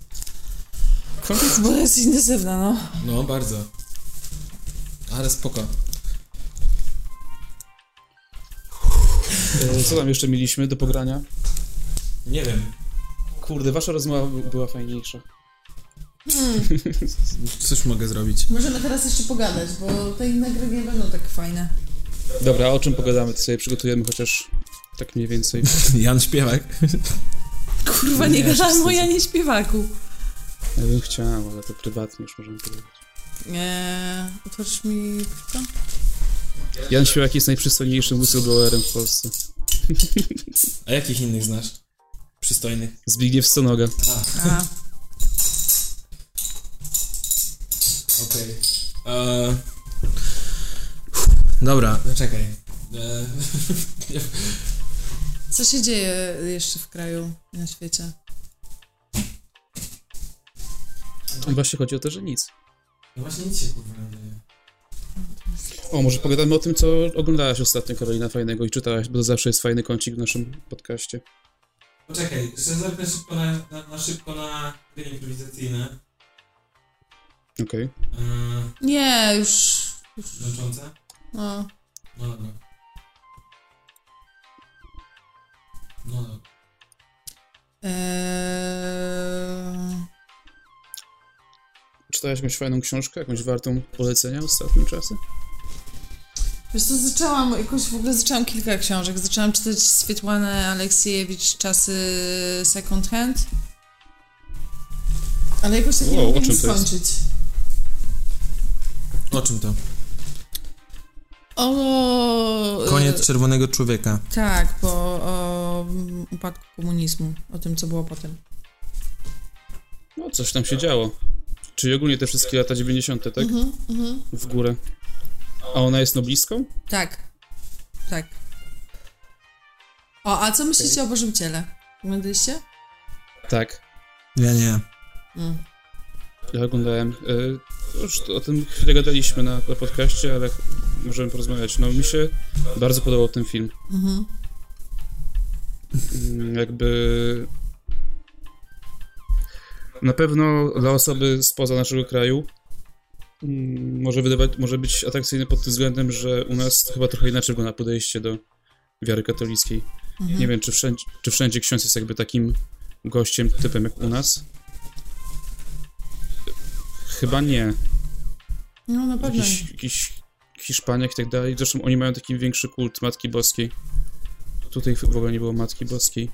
Speaker 5: Bo jest intensywna, no.
Speaker 3: No, bardzo. Ale spoko.
Speaker 1: E, Co tam jeszcze mieliśmy do pogrania?
Speaker 3: Nie wiem.
Speaker 1: Kurde, wasza rozmowa by- była fajniejsza.
Speaker 3: Cóż mogę zrobić?
Speaker 5: Możemy teraz jeszcze pogadać, bo te inne gry nie będą tak fajne.
Speaker 1: Dobra, o czym pogadamy? To sobie przygotujemy chociaż tak mniej więcej.
Speaker 3: Jan Śpiewak.
Speaker 5: Kurwa, nie, gadam o Janie Śpiewaku.
Speaker 1: Ja bym chciał, ale to prywatnie już możemy powiedzieć.
Speaker 5: Eee, otworzysz mi to?
Speaker 1: Jan Śpiewak jest najprzystojniejszym whistleblowerem w Polsce.
Speaker 3: A jakich innych znasz? Przystojnych.
Speaker 1: Zbigniew Stonoga.
Speaker 5: A,
Speaker 3: Okej. Okay. Dobra. No czekaj. E,
Speaker 5: co się dzieje jeszcze w kraju, na świecie?
Speaker 1: Właśnie chodzi o to, że nic.
Speaker 3: No właśnie nic się kurwa nie dzieje.
Speaker 1: O, może pogadamy o tym, co oglądałaś ostatnio, Karolina, fajnego i czytałaś, bo to zawsze jest fajny kącik w naszym podcaście.
Speaker 3: Poczekaj, jeszcze zerknę szybko na, na, na szybko na gry improwizacyjne.
Speaker 1: Okej.
Speaker 3: Eee,
Speaker 5: Nie, już.
Speaker 3: męczące.
Speaker 5: No.
Speaker 3: No dobra. No dobra.
Speaker 5: Eee,
Speaker 1: Czytałaś jakąś fajną książkę, jakąś wartą polecenia ostatnim czasem?
Speaker 5: Wiesz co, zaczęłam, jakoś w ogóle zaczęłam kilka książek. Zaczęłam czytać Swietłanę Aleksiejewicz, Czasy Second Hand. Ale jakoś tak nie
Speaker 1: Wow,
Speaker 5: mogę
Speaker 1: o czym
Speaker 5: nic
Speaker 1: to jest?
Speaker 5: skończyć.
Speaker 3: O czym to?
Speaker 5: O...
Speaker 3: Koniec Czerwonego Człowieka.
Speaker 5: Tak, po o, mm, upadku komunizmu, o tym, co było potem.
Speaker 1: No, coś tam się działo. Czyli ogólnie te wszystkie lata 90., tak? W górę. A ona jest noblistką?
Speaker 5: Tak, tak. O, a co myślicie o Bożym Ciele? Oglądaliście?
Speaker 1: Tak.
Speaker 3: Ja nie.
Speaker 1: Ja oglądałem. y, Już o tym chwilę gadaliśmy na na podcaście, ale ch- możemy porozmawiać. No, mi się bardzo podobał ten film. Mm, Jakby. Na pewno dla osoby spoza naszego kraju mm, może, wydawać, może być atrakcyjny pod tym względem, że u nas chyba trochę inaczej wygląda podejście do wiary katolickiej. Nie wiem, czy wszędzie, czy wszędzie ksiądz jest jakby takim gościem, typem jak u nas. Chyba nie.
Speaker 5: No, na pewno.
Speaker 1: Jakiś, jakiś Hiszpaniak i tak dalej. Zresztą oni mają taki większy kult Matki Boskiej. Tutaj w ogóle nie było Matki Boskiej.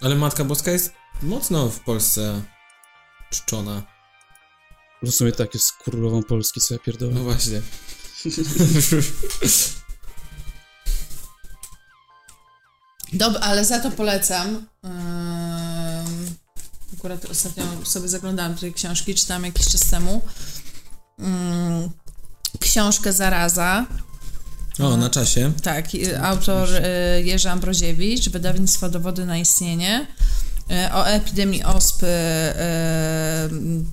Speaker 3: Ale Matka Boska jest mocno w Polsce czczona.
Speaker 1: W sumie tak jest z królową Polski, co ja
Speaker 3: No
Speaker 1: pierdolę.
Speaker 3: właśnie.
Speaker 5: Dobra, ale za to polecam. Ym, akurat ostatnio sobie zaglądałam tej książki, czytałam jakiś czas temu. Mm, Książkę Zaraza,
Speaker 3: O, na czasie.
Speaker 5: tak, i- autor y, Jerzy Ambroziewicz, wydawnictwo Dowody na istnienie. y, O epidemii ospy y,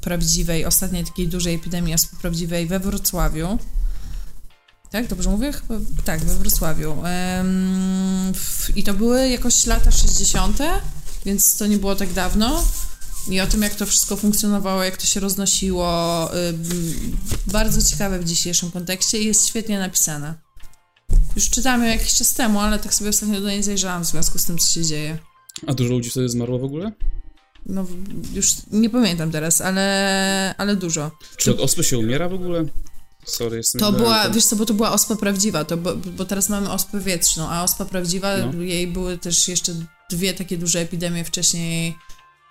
Speaker 5: prawdziwej, ostatniej takiej dużej epidemii ospy prawdziwej we Wrocławiu. Tak, dobrze mówię? Chyba, tak, we Wrocławiu. Ym, w, I to były jakoś lata 60., więc to nie było tak dawno. I o tym, jak to wszystko funkcjonowało, jak to się roznosiło. ym, bardzo ciekawe w dzisiejszym kontekście i jest świetnie napisane. Już czytałam ją jakiś czas temu, ale tak sobie ostatnio do niej zajrzałam w związku z tym, co się dzieje.
Speaker 1: A dużo ludzi wtedy zmarło w ogóle?
Speaker 5: No, w- już nie pamiętam teraz, ale, ale dużo.
Speaker 1: Czy od ospy się umiera w ogóle? Sorry, jestem
Speaker 5: To była,
Speaker 1: ignorantem.
Speaker 5: wiesz co, bo to była ospa prawdziwa, to bo, bo teraz mamy ospę wietrzną, a ospa prawdziwa,
Speaker 1: No.
Speaker 5: jej były też jeszcze dwie takie duże epidemie wcześniej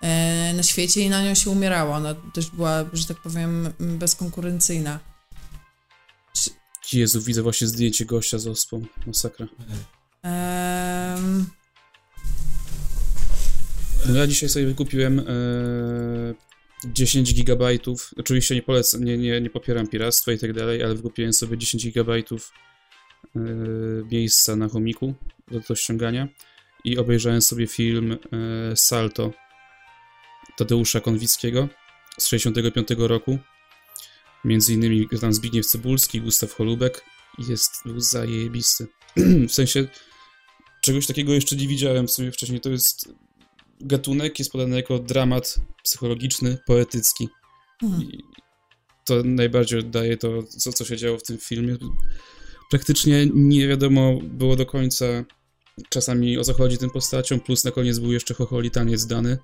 Speaker 5: e, na świecie i na nią się umierało. Ona też była, że tak powiem, m, bezkonkurencyjna.
Speaker 1: Jezu, widzę właśnie zdjęcie gościa z ospą. Masakra.
Speaker 5: Ehm,
Speaker 1: No ja dzisiaj sobie wykupiłem e, 10 gigabajtów. Oczywiście nie polecam, nie, nie, nie popieram piractwa i tak dalej, ale wykupiłem sobie 10 gigabajtów e, miejsca na chomiku do, do ściągania i obejrzałem sobie film e, Salto Tadeusza Konwickiego z 65 roku. Między innymi tam Zbigniew Cybulski, Gustaw Holubek. Jest był zajebisty. w sensie czegoś takiego jeszcze nie widziałem w sumie wcześniej. To jest gatunek jest podany jako dramat psychologiczny, poetycki.
Speaker 5: mhm.
Speaker 1: I to najbardziej oddaje to, co, co się działo w tym filmie. Praktycznie nie wiadomo było do końca czasami o co chodzi tym postaciom, plus na koniec był jeszcze chocholitaniec dany.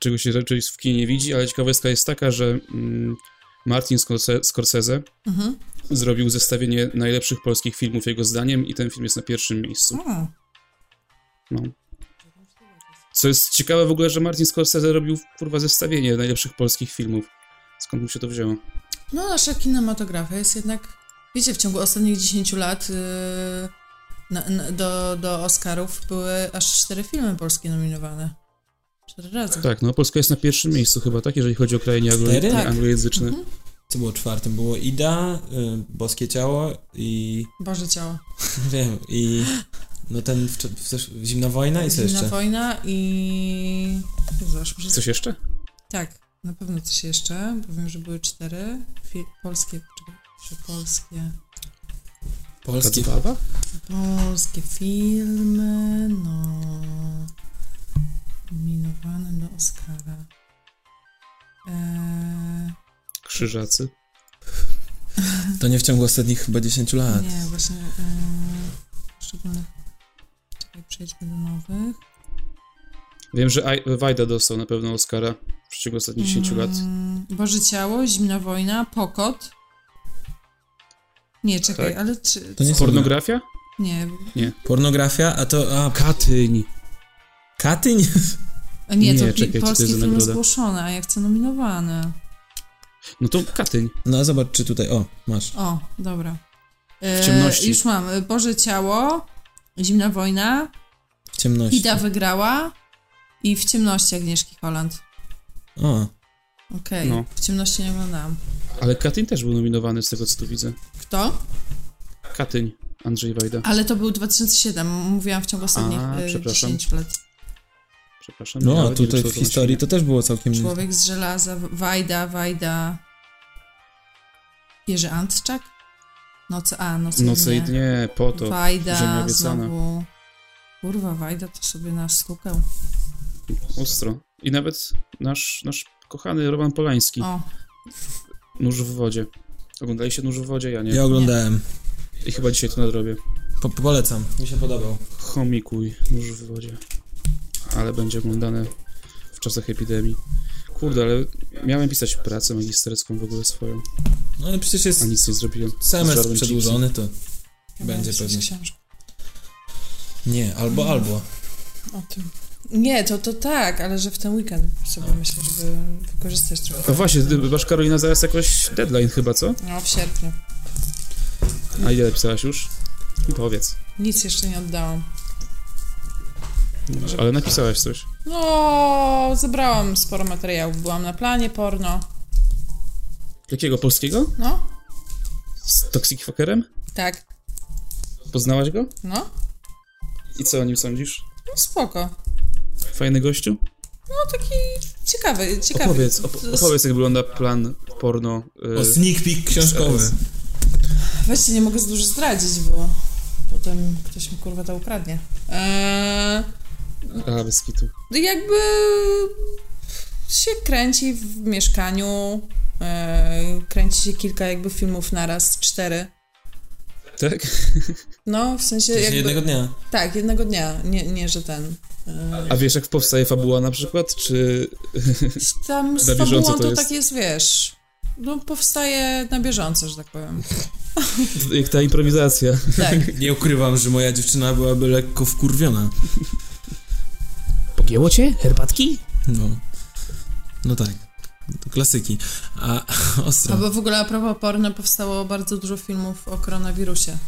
Speaker 1: Czego się raczej w kinie nie widzi, ale ciekawostka jest taka, że mm, Martin Scorse- Scorsese
Speaker 5: Mhm.
Speaker 1: zrobił zestawienie najlepszych polskich filmów jego zdaniem i ten film jest na pierwszym miejscu.
Speaker 5: O,
Speaker 1: No. Co jest ciekawe w ogóle, że Martin Scorsese robił kurwa zestawienie najlepszych polskich filmów. Skąd mu się to wzięło?
Speaker 5: No, nasza kinematografia jest jednak, wiecie, w ciągu ostatnich 10 lat yy, na, na, do, do Oscarów były aż cztery filmy polskie nominowane. Cztery razy.
Speaker 1: Tak, no Polska jest na pierwszym miejscu chyba, tak? Jeżeli chodzi o kraje nieanglo-
Speaker 3: Cztery? Mhm.
Speaker 5: Tak.
Speaker 1: anglojęzyczne.
Speaker 3: Co było czwartym? Było Ida, y, Boskie Ciało i...
Speaker 5: Boże ciało.
Speaker 3: Wiem, i... No ten... W, w, też- zimna Wojna No i co
Speaker 5: Zimna
Speaker 3: jeszcze?
Speaker 5: wojna i... Jezu, aż muszę...
Speaker 1: Coś jeszcze?
Speaker 5: Tak, na pewno coś jeszcze. Powiem, że były cztery. Fi... Polskie, czekaj, że polskie...
Speaker 3: Polskie.
Speaker 1: Kacpawa?
Speaker 5: Polskie filmy, no... Nominowane do Oscara. Eee...
Speaker 1: Krzyżacy.
Speaker 3: To nie w ciągu ostatnich chyba 10 lat.
Speaker 5: Nie, właśnie yy, szczególnych. Czekaj, przejdźmy do nowych.
Speaker 1: Wiem, że Aj- Wajda dostał na pewno Oscara w ciągu ostatnich 10 lat.
Speaker 5: Mm, Boże Ciało, Zimna Wojna, Pokot. Nie, czekaj,
Speaker 1: Tak.
Speaker 5: ale czy...
Speaker 3: To nie są-
Speaker 1: Pornografia?
Speaker 5: Nie,
Speaker 3: Pornografia, a to... A,
Speaker 1: Katyń.
Speaker 3: Katyń?
Speaker 5: a nie, to
Speaker 1: Nie,
Speaker 5: nie,
Speaker 1: czekaj, co to
Speaker 5: polskie
Speaker 1: jest za
Speaker 5: filmy
Speaker 1: nagroda?
Speaker 5: zgłoszone, a ja chcę nominowane.
Speaker 1: No to Katyń.
Speaker 3: No a zobacz, czy tutaj... O, masz.
Speaker 5: O, dobra. E,
Speaker 1: W ciemności.
Speaker 5: Już mam. e, Boże Ciało, Zimna Wojna,
Speaker 3: Ciemności.
Speaker 5: Ida wygrała i W ciemności Agnieszki Holland.
Speaker 3: O,
Speaker 5: Okej,
Speaker 1: No.
Speaker 5: W ciemności nie oglądałam.
Speaker 1: Ale Katyń też był nominowany z tego, co tu widzę.
Speaker 5: Kto?
Speaker 1: Katyń. Andrzej Wajda.
Speaker 5: Ale to był 2007, mówiłam w ciągu ostatnich
Speaker 1: A,
Speaker 5: y,
Speaker 1: przepraszam.
Speaker 5: 10 lat.
Speaker 1: Przepraszam.
Speaker 3: no a
Speaker 1: nawet nie
Speaker 3: tutaj
Speaker 1: wiem,
Speaker 3: w
Speaker 1: co to
Speaker 3: historii
Speaker 1: znaczy.
Speaker 3: to też było całkiem...
Speaker 5: Człowiek z żelaza, Wajda, Wajda. Jerzy Antczak? Noce, a, noce,
Speaker 1: Noce i dnie, po to. Ziemia
Speaker 5: Wajda,
Speaker 1: obiecana.
Speaker 5: znowu. Kurwa, Wajda to sobie nas stukał.
Speaker 1: Ostro. I nawet nasz, nasz kochany Roman Polański.
Speaker 5: O,
Speaker 1: Nóż w wodzie. Oglądaliście Nóż w wodzie? Ja nie.
Speaker 3: Ja oglądałem.
Speaker 1: I chyba dzisiaj to nadrobię.
Speaker 3: Po, polecam. Mi się podobał.
Speaker 1: Chomikuj Nóż w wodzie. Ale będzie oglądane w czasach epidemii. Kurde, ale miałem pisać pracę magisterską w ogóle swoją,
Speaker 3: No ale przecież jest
Speaker 1: a nic nie zrobiłem.
Speaker 3: semestr
Speaker 1: Zżarłem chipsy.
Speaker 3: przedłużony, to...
Speaker 5: chyba
Speaker 3: Będzie
Speaker 5: jest
Speaker 3: pewnie.
Speaker 5: książka
Speaker 3: Nie, albo, albo.
Speaker 5: o tym. Nie, to, to tak, ale że w ten weekend sobie myślę, żeby wykorzystać trochę.
Speaker 1: No właśnie, ty masz Karolina zaraz jakoś deadline chyba, co?
Speaker 5: No, w sierpniu.
Speaker 1: A ile pisałaś już? No Powiedz.
Speaker 5: Nic jeszcze nie oddałam.
Speaker 1: Ale napisałeś coś.
Speaker 5: No, zebrałam sporo materiałów. Byłam na planie porno.
Speaker 1: Jakiego polskiego?
Speaker 5: No,
Speaker 1: Z Toxic Fuckerem?
Speaker 5: tak,
Speaker 1: Poznałaś go?
Speaker 5: no.
Speaker 1: I co o nim sądzisz?
Speaker 5: No spoko.
Speaker 1: Fajny gościu?
Speaker 5: No taki ciekawy, ciekawy.
Speaker 1: Opowiedz, op- opowiedz jak wygląda plan porno. y,
Speaker 3: O sneak peek książkowy.
Speaker 5: Właśnie nie mogę za dużo zdradzić, bo potem ktoś mi kurwa to ukradnie. Eee, no
Speaker 1: Aha, bez kitu.
Speaker 5: jakby się kręci w mieszkaniu, eee, kręci się kilka jakby filmów naraz, cztery.
Speaker 1: Tak?
Speaker 5: No, w sensie
Speaker 3: W sensie
Speaker 5: jakby...
Speaker 3: jednego dnia.
Speaker 5: Tak, jednego dnia, nie, nie że ten... eee,
Speaker 1: A wiesz jak powstaje fabuła na przykład? Czy
Speaker 5: Tam z
Speaker 1: Na bieżąco
Speaker 5: fabułą
Speaker 1: to
Speaker 5: to,
Speaker 1: jest?
Speaker 5: tak jest, wiesz... No, powstaje na bieżąco, że tak powiem.
Speaker 1: jak ta improwizacja?
Speaker 5: Tak.
Speaker 3: Nie ukrywam, że moja dziewczyna byłaby lekko wkurwiona.
Speaker 1: Pogięło cię? Herbatki?
Speaker 3: No. No tak. To klasyki. A ostro.
Speaker 5: Albo w ogóle a propos porno powstało bardzo dużo filmów o koronawirusie.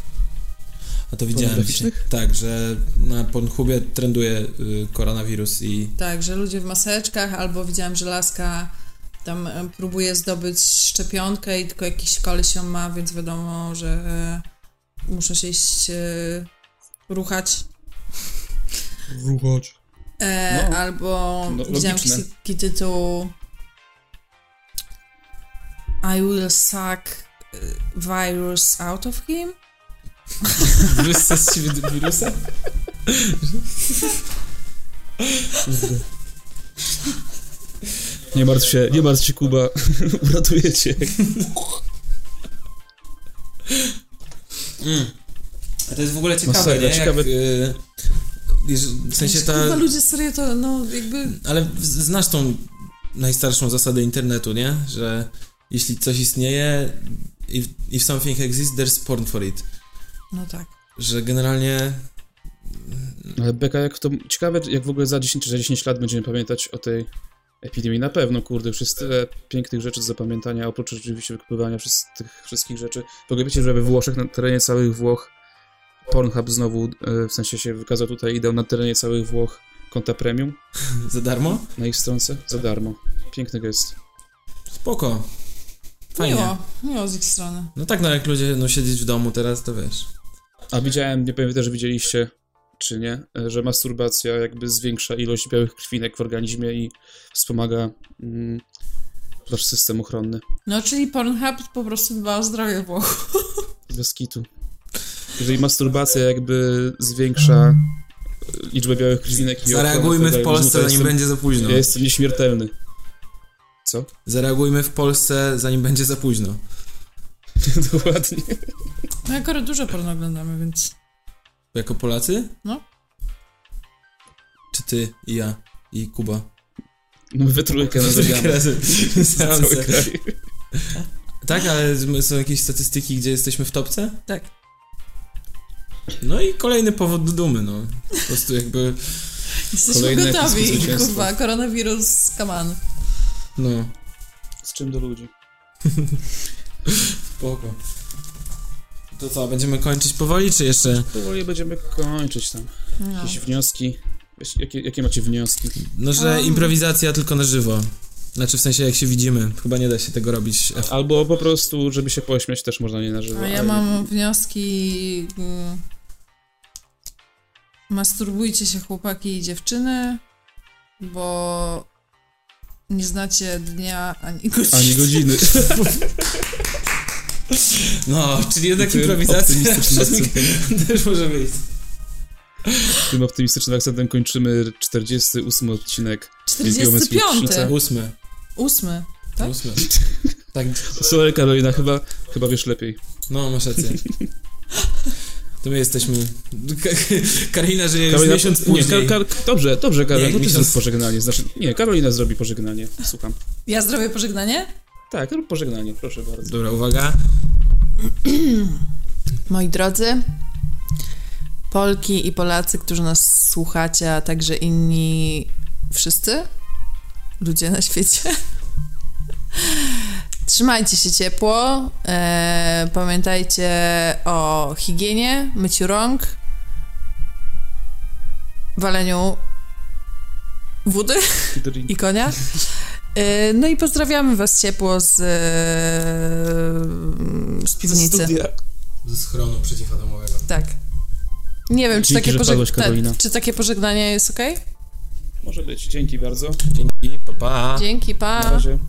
Speaker 3: A to widziałem. Dzisiaj.
Speaker 1: Pornograficznych?
Speaker 3: Tak, że na Pornhubie trenduje y, koronawirus i
Speaker 5: Tak, że ludzie w maseczkach, albo widziałam, że laska tam e, próbuje zdobyć szczepionkę i tylko jakiś koleś ją ma, więc wiadomo, że e, muszą się iść e, ruchać.
Speaker 1: Ruchać.
Speaker 5: E,
Speaker 1: No.
Speaker 5: albo
Speaker 1: No,
Speaker 5: widziałam
Speaker 1: logiczne.
Speaker 5: jakiś taki tytuł I will suck e, virus out of him.
Speaker 3: Wyssać z siebie wirusa?
Speaker 1: Nie martw się, nie martw się Kuba, uratuję cię.
Speaker 3: A to jest w ogóle ciekawe,
Speaker 1: Masakra,
Speaker 3: nie?
Speaker 1: ciekawe.
Speaker 3: Jak, y, jeż- w sensie ta...
Speaker 5: Kurwa, ludzie serio to, no jakby...
Speaker 3: Ale w- znasz tą najstarszą zasadę internetu, nie? Że jeśli coś istnieje, if, if something exists, there's porn for it.
Speaker 5: No tak.
Speaker 3: Że generalnie...
Speaker 1: Ale Beka, jak to... Ciekawe, jak w ogóle za 10 czy za 10 lat będziemy pamiętać o tej epidemii. Na pewno, kurde, już jest tyle pięknych rzeczy do zapamiętania, oprócz oczywiście wykupywania przez tych wszystkich rzeczy. W ogóle wiecie, że we Włoszech, na terenie całych Włoch, Pornhub znowu, e, w sensie się wykazał tutaj i dał na terenie całych Włoch konta premium
Speaker 3: Za darmo?
Speaker 1: na ich stronce za darmo. Piękny gest.
Speaker 3: Spoko. Fajnie.
Speaker 5: Miło, miło z ich strony.
Speaker 3: No tak, no jak ludzie będą siedzieć w domu teraz, to wiesz.
Speaker 1: A widziałem, nie wiem, też widzieliście, czy nie, e, że masturbacja jakby zwiększa ilość białych krwinek w organizmie i wspomaga mm, wasz system ochronny.
Speaker 5: No, czyli Pornhub po prostu dba o zdrowie Włochów.
Speaker 1: Bez kitu. Jeżeli masturbacja jakby zwiększa e, liczbę białych krwinek i
Speaker 3: Zareagujmy
Speaker 1: ochronę
Speaker 3: w
Speaker 1: tego organizmu,
Speaker 3: Polsce,
Speaker 1: to
Speaker 3: zanim
Speaker 1: jestem-
Speaker 3: będzie no. za późno.
Speaker 1: Ja jestem nieśmiertelny. Co?
Speaker 3: Zareagujmy w Polsce, zanim będzie za późno.
Speaker 1: Dokładnie.
Speaker 5: No, akurat dużo porno oglądamy, więc...
Speaker 3: Jako Polacy?
Speaker 5: No.
Speaker 3: Czy ty i ja i Kuba?
Speaker 1: No we trójkę narzekamy.
Speaker 3: Razem.
Speaker 1: Cały
Speaker 3: Seanse.
Speaker 1: kraj.
Speaker 3: Tak, ale z- są jakieś statystyki, gdzie jesteśmy w topce?
Speaker 5: Tak.
Speaker 3: No i kolejny powód do dumy, no. Po prostu jakby,
Speaker 5: Jesteśmy
Speaker 1: Kolejne epickie
Speaker 5: gotowi,
Speaker 1: zwycięstwo.
Speaker 5: kurwa, koronawirus, come on.
Speaker 3: no,
Speaker 1: Z czym do ludzi?
Speaker 3: spoko. To co, będziemy kończyć powoli, czy jeszcze?
Speaker 1: Powoli będziemy kończyć tam.
Speaker 5: No.
Speaker 1: Jakieś wnioski? Wiesz, Jakie, jakie macie wnioski?
Speaker 3: No, że
Speaker 5: Um.
Speaker 3: improwizacja tylko na żywo. Znaczy w sensie jak się widzimy, chyba nie da się tego robić. F-
Speaker 1: Albo po prostu, żeby się pośmiać, też można nie na żywo.
Speaker 5: A ja
Speaker 1: ale-
Speaker 5: mam wnioski... mm, Masturbujcie się, chłopaki i dziewczyny, bo nie znacie dnia ani godziny.
Speaker 1: Ani godziny.
Speaker 3: No, czyli jednak
Speaker 1: Tym
Speaker 3: improwizacja
Speaker 1: optymistycznym
Speaker 3: przez mik- też może wyjść.
Speaker 1: Tym optymistycznym akcentem kończymy 48 odcinek.
Speaker 5: 45.
Speaker 1: Geometrii
Speaker 3: Ósmy.
Speaker 5: Ósmy. Tak?
Speaker 3: Ósmy. Tak,
Speaker 1: Sorry Karolina, chyba, chyba wiesz lepiej.
Speaker 3: no masz rację. To my jesteśmy... Ka- Karolina żyje już
Speaker 1: Karolina,
Speaker 3: miesiąc
Speaker 1: nie,
Speaker 3: później.
Speaker 1: Kar- Kar- dobrze, dobrze
Speaker 3: Nie, jak
Speaker 1: Karolina, to ty
Speaker 3: miesiąc-
Speaker 1: zrób pożegnanie. Znaczy, nie, Karolina zrobi pożegnanie, słucham.
Speaker 5: Ja zrobię pożegnanie?
Speaker 1: Tak, rób pożegnanie, proszę bardzo.
Speaker 3: Dobra, uwaga.
Speaker 5: Moi drodzy, Polki i Polacy, którzy nas słuchacie, a także inni wszyscy ludzie na świecie. Trzymajcie się ciepło. E, pamiętajcie o higienie, myciu rąk. waleniu wody
Speaker 1: Drink.
Speaker 5: i konia. E, No i pozdrawiamy Was ciepło z, e, z piwnicy.
Speaker 3: Ze schronu przeciwatomowego.
Speaker 5: Tak. Nie wiem, czy
Speaker 1: Dzięki,
Speaker 5: takie,
Speaker 1: że wpadłeś, Karolina.
Speaker 5: tak, czy takie pożegnanie jest ok?
Speaker 1: Może być. Dzięki bardzo.
Speaker 3: Dzięki, pa pa.
Speaker 5: Dzięki, pa.
Speaker 1: Na razie.